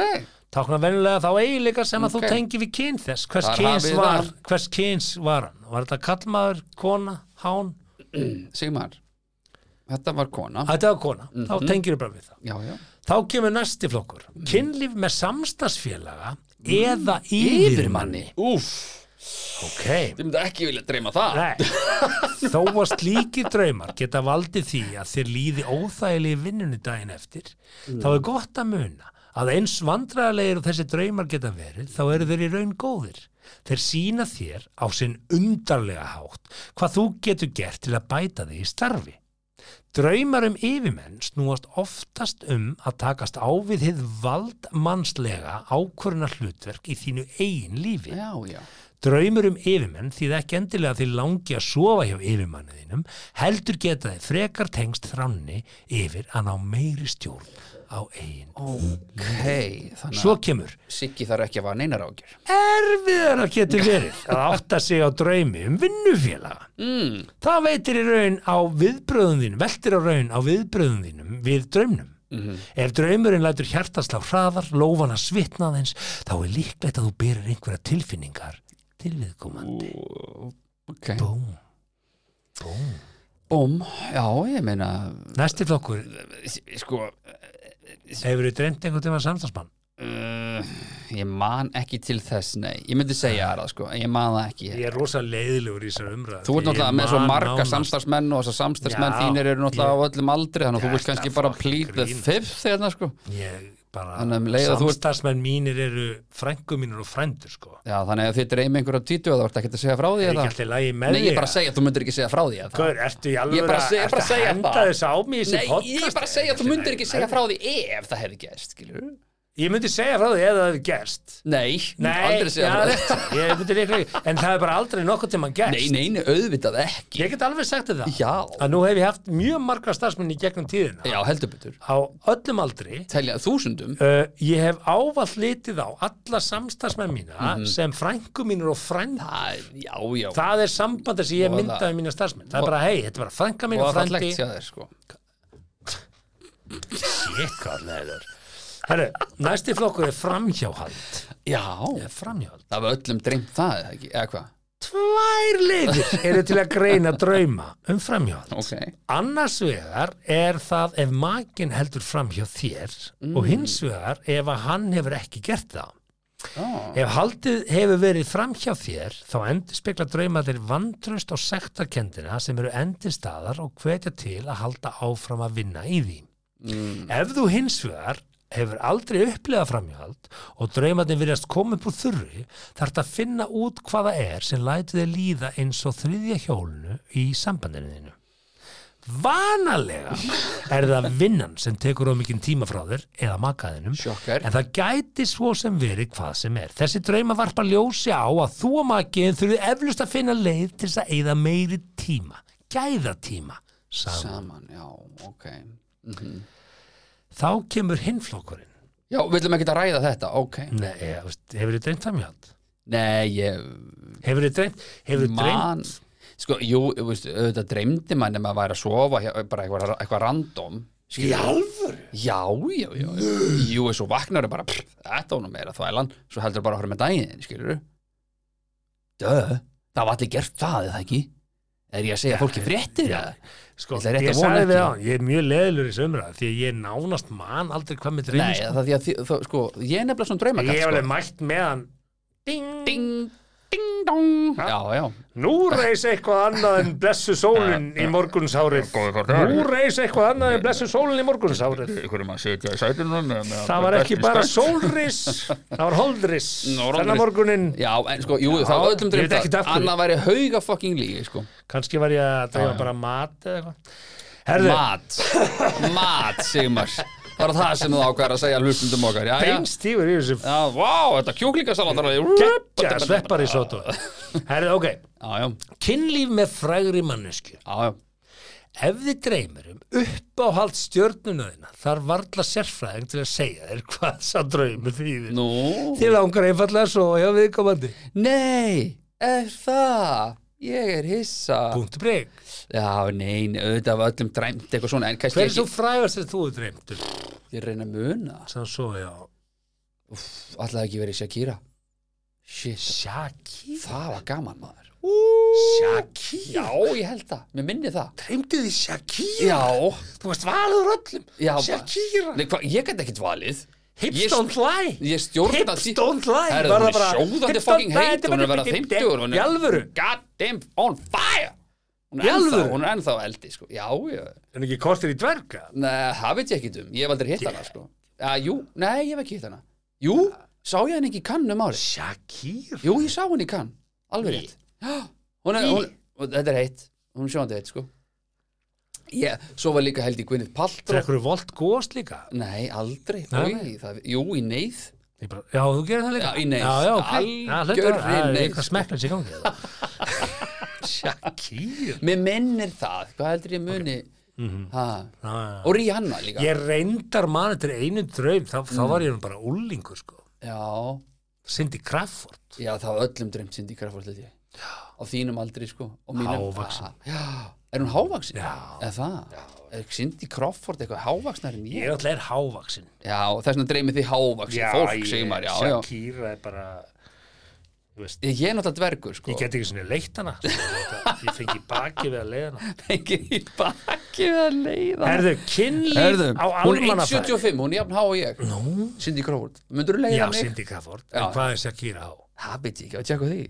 B: tákna venjulega þá eiginleika sem að
D: Ok.
B: þú tengir við kyn þess hvers
D: Þar
B: kyns,
D: hafið
B: var,
D: það.
B: hvers kyns var hann var þetta kallmaður, kona, hán
D: Sigmar Þetta var kona
B: Að þetta var kona,
D: Mhm.
B: þá tengir við bara við það
D: Já, já
B: þá kemur næsti flokkur
D: Mhm.
B: kynlíf með samstagsfélaga eða yfirmanni
D: Mm. Yfirmanni Úf,
B: ok,
D: ég myndi ekki vilja dreyma það
B: Nei, þó að slíkir draumar geta valdið því að þér líði óþægilegi vinnunni daginn eftir þá er gott að muna að eins vandræðalegir og þessi draumar geta verið þá eru þeir í raun góðir þeir sína þér á sinn undarlega hátt hvað þú getur gert til að bæta þig í starfi Draumar um yfirmenn snúast oftast um að takast á við hið valdmannslega ákvörna hlutverk í þínu eigin lífi.
D: Já, já
B: Draumur um yfirmenn því það ekki endilega að þið langi að sofa hjá yfirmanniðinum, heldur geta þið frekar tengst þránni yfir að ná meiri stjórn á eigin.
D: Hei, þannig
B: Svo kemur,
D: að Siggi þarf ekki að vara neinar ágjur
B: erfiðar að geta verið að átta sig á draumi um vinnufélaga.
D: mm.
B: Það veitir í raun á viðbröðum þínum, veltir á raun á viðbröðum þínum við draumnum. Ef draumurinn lætur hjartaslá hraðar, lófana svitnaðins, þá er líklegt að þú berir einhverja tilfinningar til viðkomandi.
D: Ok
B: Búm. Búm.
D: Búm, já, ég meina
B: Næsti flokkur,
D: Sko
B: hefur þið dreymt einhvern tíma samstagsmann?
D: uh, ég man ekki til þess, nei Ég myndi segja það, sko, ég man það ekki
B: Ég er rosa leiðilegur í þessar umræð
D: Þú ert náttúrulega með svo marga samstarfsmenn og þessar samstarfsmenn
B: Já,
D: þínir eru
B: ég-
D: náttúrulega á öllum aldri þannig að þú vilt
B: Þetta
D: kannski bara
B: fucking
D: plead the
B: grín.
D: fifth þegar sko.
B: Ég bara,
D: Þannig að um leið að þú ert-
B: samstarfsmenn mínir eru frængu mínir og frændur sko
D: Já, þannig að þið dreymi einhverja títu að þú ert ekki að segja frá því
B: Er
D: eða?
B: ekki alltaf lægi með
D: Nei, ég er bara að segja að þú myndir ekki segja frá því eða?
B: Hver, ertu í alveg
D: Ég bara seg- ég bara
B: að
D: segja
B: henda
D: það.
B: þessu á mig í þessi
D: Nei,
B: podcast?
D: ég er bara að segja að þú
B: Ertu
D: myndir
B: lagi
D: ekki segja
B: með
D: frá því ef það hefði gerst, skilur
B: þig? Ég myndi segja frá því ef það hefði gerst
D: Nei,
B: Nei,
D: aldrei segja
B: já,
D: frá því
B: rétt. ég myndi líka ekki En það er bara aldrei nokkuð tíma gerst
D: Nei, nei, nei, auðvitað ekki
B: Ég get alveg sagt þér það
D: Já,
B: Að nú hef ég haft mjög margra starfsmenn í gegnum tíðina
D: já, heldur betur
B: Á öllum aldri
D: Telja þúsundum
B: Uh, ég hef ávall litið á alla samstarfsmenn mína sem frængu mínur og frænd
D: Það, já, já
B: það er sambandi sem ég
D: Og
B: myndaði
D: það-
B: mína starfsmenn það er bara hei, þetta er bara frænga mín og
D: Og það er
B: frændi
D: legt sér þér, sko
B: Jékarlegur Herru, næsti flokkur er framhjáhald
D: Já,
B: er framhjáhald
D: það var öllum dreymt það, eða ekki, eða hvað
B: Tvær liðir eru til að greina drauma um framhjáhald
D: Ok,
B: Annars vegar er það ef makin heldur framhjá þér og hins vegar ef að hann hefur ekki gert það
D: já
B: Ef haldið hefur verið framhjá þér þá endur spekla draumatir vantröst á sektarkendina sem eru endir staðar og hvetja til að halda áfram að vinna í því. Ef þú hins vegar hefur aldrei upplegað framhjáhald og draumatin virðast koma upp úr þurru þarf þetta að finna út hvaða er sem lætur þið líða eins og þriðja hjólunu í sambandinu þínu. Vanalega er það vinnan sem tekur á mikinn tíma frá þér eða makaðinum
D: Sjokker.
B: en það gæti svo sem verið hvað sem er. Þessi drauma varpa ljósi á að þú og makiðin þurfið eflust að finna leið til þess að eigða meiri tíma, gæðatíma. Sam.
D: Saman, já, ok
B: Þá kemur hinflokkurinn.
D: Já, við viljum ekki að ræða þetta, ok
B: Nei, ég, veist, hefur þið dreymt framhjátt?
D: Nei, ég
B: Hefur þið dreymt? Hefur þið
D: man
B: dreymt?
D: Sko, jú, þú veist, auðvitað dreymdi mann ef maður væri að sofa hjá- bara eitthvað, eitthvað random
B: Í alvöru?
D: Já, já, já Jú, eins og vaknar er bara prr, Þetta var nú meira þvælan Svo heldur bara að horfa með daginn, skilur Döð Það var allir gert það, eða ekki Er ég að segja fólki fréttir?
B: Já.
D: eða?
B: Sko,
D: Ég ætla rétt
B: ég
D: að vona
B: sagði við
D: ekki.
B: á, ég er mjög leðilur í sömra því að ég nánast man aldrei hvað með dreymi
D: Nei, það því að því, það, sko, ég er nefnilega svona draumagat
B: Ég hef
D: sko.
B: alveg mætt með hann Ding,
D: Ding, ding, dong Já, já
B: Nú reys eitthvað annað en blessu sólinn í morgunshárið Nú reys eitthvað annað en blessu sólinn í morgunshárið
E: ykkur um að sitja í sætunum
B: Það var ekki bara sólris Það var holdris
D: Norðanris.
B: Þennan morguninn
D: Já, en sko, jú, það var
B: ég
D: öllum
B: veit
D: dreymt
B: ekkert af
D: það
B: hverju.
D: Annað væri hauga fucking lígi, sko
B: Kanski var ég að
D: Já,
B: dreyma
D: já.
B: bara mat eða eitthvað Herðu,
D: Mat, mat, Sigmar Bara það sem þú ákvæðar að segja hlustundum okkar Já, já,
B: beinstífur í þessu
D: já, vá, þetta kjúklingasalat er alveg-
B: geggja sveppar í sotu Herðu, ok,
D: Já, já,
B: kynlíf með frægri mannesku
D: já, já
B: Ef þið dreymir um uppáhald stjörnunaðina þar varla sérfræðing til að segja þér hvað sá draumur þýðir.
D: Nú
B: Þið langar einfallega svo hjá viðkomandi.
D: Nei, er það Ég er hissa
B: Punktu breg.
D: Já, nei, nei, auðvitað var öllum dræmt eitthvað svona En kannski
B: Hver er svo
D: ekki,
B: frægast sem þú er dreymtur?
D: ég reyna að muna
B: Sá svo, já.
D: Alltaf ekki verið Shakira Shit,
B: Shaki?
D: það var gaman maður
B: Shaki?
D: Já, ég held það, mér minni það
B: Dreymdu þið Shaki?
D: Já,
B: Þú varst valður öllum.
D: já
B: Shakira.
D: Nei, hva, ég gæti ekkert valið
B: Hips
D: Ég-
B: don't lie.
D: Ég stjórna
B: Hips don't lie.
D: Herra,
B: Var
D: hún
B: það
D: er
B: bara-
D: sjóðandi
B: Hips
D: fucking
B: don't lie,
D: heit
B: þetta
D: Hún er að
B: bara
D: vera
B: fyrir
D: 50 og hún er
B: Í alvöru.
D: God damn, on fire Hún
B: Í
D: er ennþá,
B: alvöru?
D: hún er ennþá eldi sko. Já, já
B: En ekki kortir í dverga?
D: Nei, það veit ég ekki um, ég hef aldrei hitt hana sko. ja, Jú, nei, ég hef ekki hitt hana Jú, sá ég henni ekki í kann um árið
B: Shakira?
D: Jú, ég sá henni í kann, alveg rétt [gasps] Já, Hún er, hún, og þetta er heitt Hún er sjóðandi heitt, sko Ég, svo var líka held í Gwyneth Paltrow
B: Drekkur þú volt góðast líka?
D: Nei, aldrei
B: Nei,
D: Nei, það, Jú, í neyð
B: Ég bara, já, þú gerir það líka?
D: Já, í neyð.
B: Já, já, ok.
D: Algjörri
B: Já, hlaupa- Það er
D: neyð,
B: eitthvað
D: sko.
B: smekklins í gangi.
D: [laughs]
B: Shakir.
D: Mér minnir það, hvað heldur ég muni ha, Og Rihanna líka
B: Mhm. Ég reyndar mann eftir einum draum, þá, þá
D: Mm.
B: var ég nú bara úlingur, sko.
D: Já,
B: Cindy Crawford.
D: já, það var öllum dreymt Cindy Crawford held ég Á þínum aldri, sko og mínum.
B: Hávaksin.
D: Ah, Já, er hún hávaksin?
B: Já.
D: Er það? Er Cindy Crawford eitthvað hávaksnar en
B: Ég
D: ég?
B: er alltaf er hávaksin.
D: Já, þess vegna dreymið því hávaksin fólk, segir maður, já, já
B: Shakira er bara... þú veist,
D: Ég ég er náttúrulega dvergur, sko. [laughs]
B: ég get ekki svona leitt hana sko, þetta, ég fengi baki við að leiða
D: [laughs]
B: hana
D: ekki í baki við að leiða.
B: Herðu, kynlíf
D: Herðu,
B: á
D: hún er
B: almannafæð
D: 175, hún er jafn há og ég. Nú? Cindy Crawford. Myndur þú leiða
B: Já,
D: mig?
B: Cindy Crawford, en
D: Já.
B: hvað er Shakira á?
D: Það beti ekki, að tjekka á því.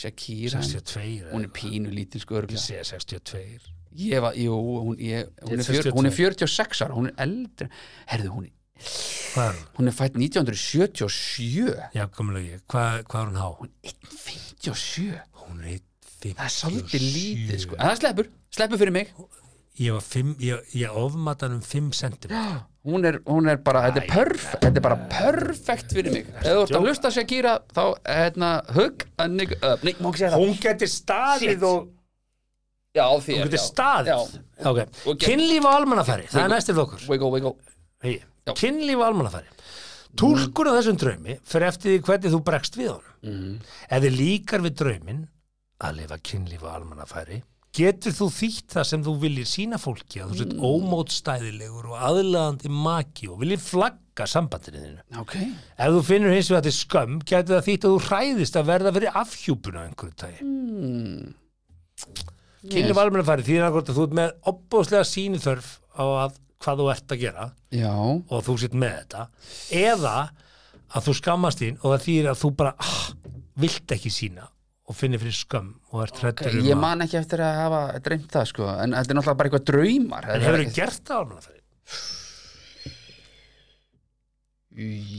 D: Shakira,
B: 62
D: hún er
B: eða
D: pínu lítil sko
B: eitthvað. Ég
D: örgla.
B: segi 62
D: Ég var, jú, hún, ég, hún, er fjör,
B: 62.
D: hún er 46 ára, hún er eldri. Herðu, hún,
B: Hvað er hún?
D: hún er fætt 1977.
B: Já, komulega ég, hvað, hvað er hún há?
D: 57.
B: Hún er 1,57
D: Það er svolítið lítið sko. En það sleppur, sleppur fyrir mig.
B: Ég var 5, ég, ég ofmatan um 5 cm
D: [gasps] Hún er, hún er bara, þetta er, perf, þetta er bara perfekt fyrir mig. Ef þú ert að hlusta á Shakira, þá, hérna, hug, að nigg, upp. Nei, má ekki segja það.
B: Hún geti staðið og
D: Já, því
B: Hún geti staðið
D: Já,
B: Ok,
D: Og gegn-
B: kynlíf á almannafæri, það er næstir við okkur
D: wiggle, wiggle.
B: Hey,
D: Já.
B: kynlíf á almannafæri Túlkur á þessum draumi fyrir eftir því hvernig þú bregst við honum
D: Mhm.
B: Ef þið líkar við drauminn að lifa kynlíf á almannafæri getur þú þýtt það sem þú viljir sína fólki að þú
D: Mm.
B: sett ómótstæðilegur og aðlaðandi maki og viljir flagga sambandinu þínu
D: Ok.
B: Ef þú finnur hins vegar til skömm getur það þýtt að þú hræðist að verða fyrir afhjúpun á einhverju tagi mm. Kynlíf á almannafæri því að þú ert með opbóðslega síniþörf á að hvað þú ert að gera
D: Já.
B: og þú sitt með þetta eða að þú skammast þín og það þýðir að þú bara ah, vilt ekki sína og finnir fyrir skömm og ert hrættur um
D: Ég
B: að
D: man ekki eftir að hafa dreymt það sko en þetta er náttúrulega bara eitthvað draumar
B: en hefur þú gert það á alveg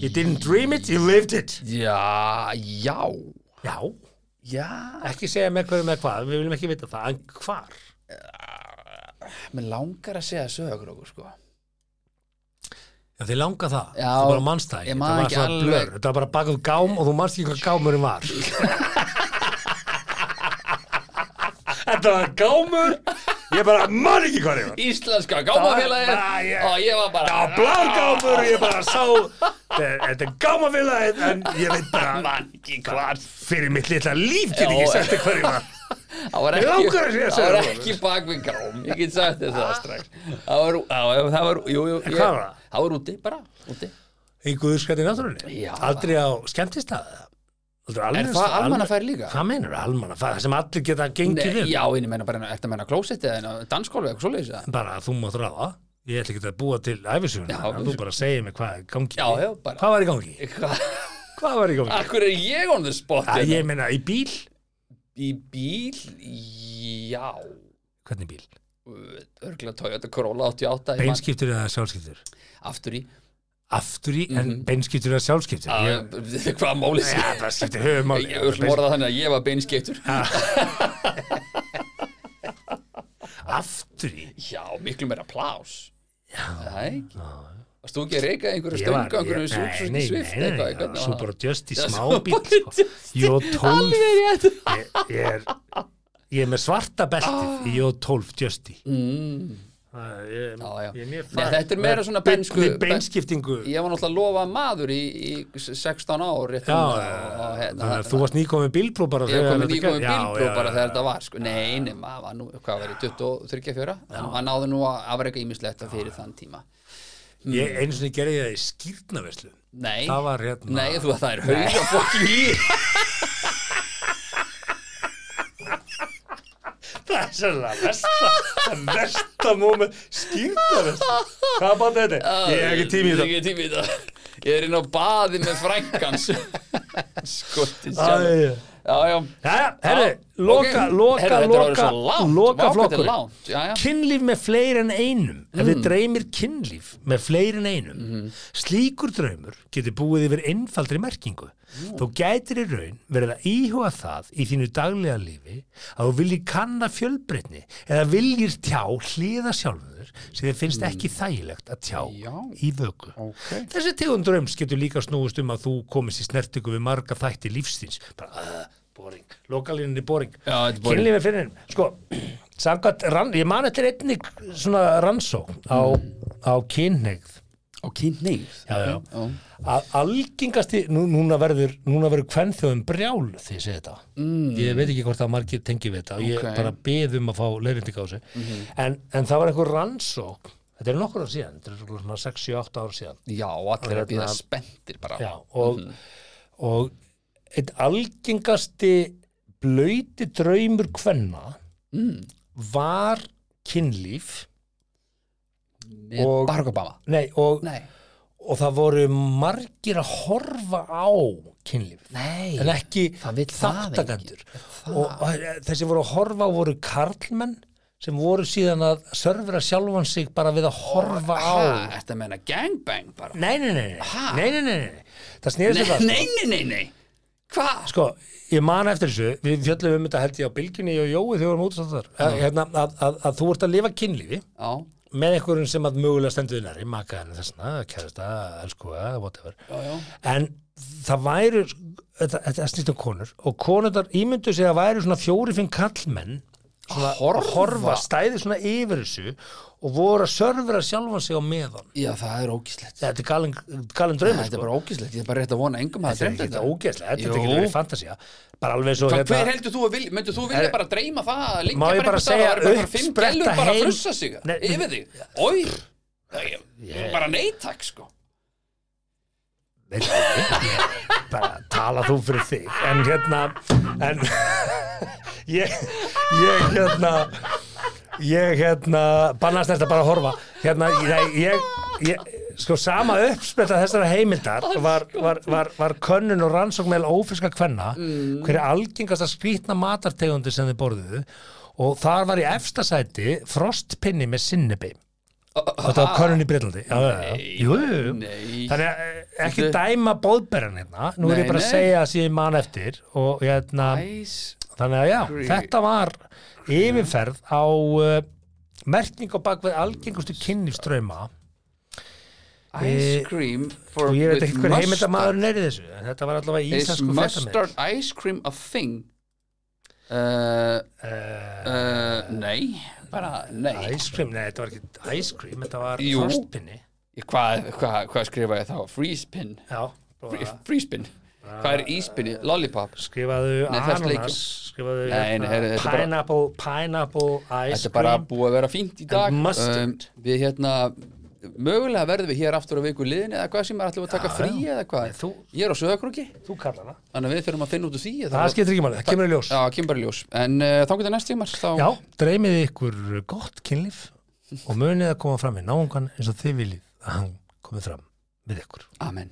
B: you didn't dream it, you lived it
D: Já, já
B: já,
D: Já,
B: ekki segja með hverju með hvað við viljum ekki vita það, en hvar
D: mér langar að segja sögur okkur sko
B: Já, þið langa það,
D: Já,
B: þú bara manst það
D: ég
B: ekki
D: man
B: það var
D: ekki
B: svona
D: alveg.
B: blör, þetta var bara bakað gám og þú manst ekki hvað gámurinn var [laughs] Þetta var gámur ég bara man ekki hvað þið var
D: Íslenska
B: gámafélagið.
D: gámafélagið
B: Bara, ég-
D: og ég var
B: Það
D: bara
B: var blágámur og ég bara sá þetta þetta er gámafélagið en ég veit bara
D: [laughs] Man ekki hvað
B: fyrir mitt litla líf get ég
D: Já.
B: ekki sagt þér hvað þið var
D: Það var
B: Mig
D: ekki,
B: langar að segja
D: það var
B: sögur.
D: ekki bak við gróm Ég get sagt þess það strax Það var, á, það var, jú, jú ég-
B: hvað var það?
D: Það var úti, bara, úti
B: Í guðskætti náttúrunni,
D: Já.
B: aldrei á skemmtistað
D: Er það almannafæri líka?
B: Hvað meinar almannafæri? Það sem allir geta gengið
D: Nei,
B: um
D: Já, ég meina bara, eftir að meina klósetti eða danskólu eitthvað svoleiðis eða?
B: bara að þú mátt ráða ég ætla ekki að búa til æfisuguna
D: Já,
B: þú bara segir mér hvað er í gangi
D: Já, já, bara.
B: hvað var í gangi,
D: Hvað?
B: hvað var í gangi
D: Akkur er ég on the spot
B: að,
D: hérna?
B: ég meina í bíl,
D: Í bíl, já
B: hvernig bíl
D: örgulega Toyota Corolla 88 ég man-
B: beinskiptur eða sjálfskiptur
D: aftur í
B: aftur í en beinskiptur eða sjálfskiptur
D: Mhm. Ah,
B: ég,
D: [laughs] hvaða máli sé
B: ja, það skiptir höfumáli
D: ég örgla þannig að ég var beinskiptur
B: aftur í
D: já, miklu meira plás já varst þú ekki að reyka einhverju
B: Ég var-
D: stöngu einhverju
B: ég- nei, nei,
D: svift
B: nei, nei,
D: eitthvað hvernig
B: svo
D: var
B: bara
D: það?
B: just í
D: Já,
B: smá
D: svo
B: bíl
D: bara
B: sko.
D: just-
B: J12
D: [laughs] alveg rétt
B: ég, ég er ég er með svarta beltið í J12 Justi mm. ég,
D: Já, já.
B: ég er mjög
D: Nei,
B: fær-
D: þetta er
B: með
D: meira svona
B: beinni
D: bensku-
B: beinskiptingu já,
D: ég var náttúrulega að lofa maður í, í 16 ár rétt núna og- og hérna,
B: þannig að þú varst nýkomið bílbró bara
D: ég
B: þegar
D: kom með
B: þetta
D: nýkominn
B: gerð- já,
D: bílbró
B: já,
D: bara
B: já.
D: þegar þetta var sko. nei, nema, það var nú, hvað var í 23-4 hann náði nú að afreika ímislegt fyrir þann tíma
B: ég einu sinni gerði ég það í skýrtnaverslu
D: nei,
B: það var hérna
D: nei, þú að það er hauga fólki í
B: [laughs] það er sérlega versta versta moment skýrtnaverslu hvað báði þetta? ég hef ekki tími í
D: Ég
B: þetta
D: hef ekki tími í þetta. Ég er inn á baði með
B: [laughs]
D: frænkans Skottið sjálf
B: Æ, já.
D: Já, já
B: Jæja, herri,
D: Já,
B: loka,
D: ok.
B: loka,
D: Herri, þetta er orðið
B: loka,
D: svo langt.
B: loka
D: Vá, hvað þetta er
B: flokkur
D: langt. Já, Mm. já.
B: Kynlíf með fleiri en einum Ef þið dreymir kynlíf með fleiri en einum
D: Mhm.
B: Slíkur draumur getur búið yfir einfaldri merkingu
D: Mm.
B: Þú gætir í raun verið að íhuga það í þínu daglega lífi að þú viljir kanna fjölbreytni eða viljir tjá hliða sjálfur sem þið finnst ekki þægilegt að tjá
D: Mm. Já.
B: í vöku
D: Ok.
B: Þessi tegund draums getur líka snúist um að þú komist í snertingu við marga þætti lífstins. Bara, uh, boring, lokalíninni boring.
D: Já, þetta er boring.
B: Kynlífið fyrir henni. Sko, samkvæmt, rann, ég man eftir einni svona rannsó á, á kynneigð.
D: Og kynneið
B: Já, já. Að algengasti, nú, núna verður, núna verður kvennþjóðum brjál því að segja þetta. Mm. Ég veit ekki hvort að margir tengi við þetta og ég
D: Ok.
B: bara beð um að fá leirindika á þessu. en, en það var einhver rannsók, þetta er nokkur ár síðan, þetta er svona 6-7-8 ár síðan
D: Já, Mhm. allir er að býða
B: Hérna-
D: spenntir bara
B: já, og, og eitt algengasti blöyti draumur kvenna
D: Mm.
B: var kynlíf Og-
D: og... Barack Obama
B: nei, og,
D: Nei,
B: og það voru margir að horfa á kynlíf
D: nei
B: en ekki
D: það vill það
B: þáttakandur og þessi voru að horfa voru karlmenn sem voru síðan að sörfra sjálfan sig bara við að horfa á
D: Hvað, ertu að meina gangbang bara?
B: nei, nei, nei, nei,
D: Ha?
B: nei, nei, nei, nei. það snýðist
D: Nei,
B: þetta
D: nei, nei, nei, nei. Hvað?
B: sko, ég man eftir þessu við fjöllum um þetta held ég á bylginni og Jói þegar við vorum útsátt þar að, hérna, að, að, að þú ert að lifa kynlífi
D: Já,
B: með einhverjum sem að mögulega stendur þér nærri maka henni þessna, kærasta, elskuga, whatever
D: já, já
B: en það væru þetta, þetta snýst um konur og konundar ímyndu sig að væru svona fjóri-finn kallmenn svona,
D: Horfa.
B: að horfa, stæði svona yfir þessu og voru að sörfra sjálfan sig á meðan
D: Já, það er ógíslegt
B: þetta er galin, galin draumur sko.
D: Þetta er bara ógíslegt, ég er bara rétt að vona engum hafa
B: þetta er
D: dreymt
B: ekki
D: þetta
B: þetta ógeðslega, þetta er
D: Jú.
B: ekki verið fantasía bara alveg svo
D: Hvað, hver heldur þú að vilja, myndir þú vilja
B: Er-
D: bara dreyma það að liggja
B: hérna- Eh, Má ég bara
D: einhvers staðar
B: segja
D: og það væri bara
B: upp,
D: fimm
B: spretta
D: gælur bara að
B: heim?
D: frussa sig
B: Nei,
D: yfir þig, oi Nei, ég- ég- bara neytak sko
B: Nei, nei, ég- bara tala þú fyrir þig en hérna en [laughs] ég, ég hérna ég hérna bannast þetta bara að horfa hérna ég, ég, ég sko sama uppspetta þessara heimildar var, var, var, var könnun og rannsókn með ófiska kvenna mm. hver er algengasta skrýtna matartegundi sem þið borðuðu og þar var í efsta sæti frostpinni með sinnebi þetta var könnun í Breitlandi já, já, já. Jú, jú, jú.
D: Nei,
B: Þannig að eh, ekki
D: Þetta-
B: dæma bóðberan hérna, nú er
D: Nei,
B: ég bara að
D: nei.
B: segja að ég man eftir og hérna,
D: æs
B: þannig að já,
D: agree.
B: þetta var yfirferð á uh, merking og bakveð algengustu kynlífströma
D: Ice cream for,
B: Eh, og ég veit
D: with
B: ekki hver
D: mustard.
B: heimildamaðurinn er í þessu, en þetta var allavega
D: Is
B: íslensku
D: mustard
B: fréttamenn.
D: ice cream a thing? Uh, uh, nei, bara nei
B: Eh, Ice cream, nei, þetta var ekki ice cream, þetta var
D: Jú.
B: frostpinni.
D: Hvað hva, hva skrifa ég þá? Freeze pin
B: Já, bara
D: Freeze pin Hvað er íspinni? Lollipop
B: skrifaðu
D: Nei, það er sleikju.
B: ananas, skrifaðu
D: Nei, nei, heyrðu, þetta er bara-
B: pineapple, pineapple, ice
D: Þetta
B: cream.
D: er bara búið að vera fínt í dag
B: mustard.
D: Við hérna Mögulega verðum við hér aftur á viku liðin eða hvað sem er allir að taka
B: Já,
D: frí
B: já.
D: eða hvað
B: Nei, þú,
D: Ég er á söðakrúki
B: þú kallar það.
D: Þannig að við þurfum að finna út úr því
B: Það skiptir ekki máli, það kemur í ljós.
D: Já, kemur bara í ljós En uh, þá getur næst tímar þá...
B: Já, dreymið ykkur gott kynlíf og munið að koma fram í náungan eins og þið viljið að hann komið fram við ykkur.
D: Amen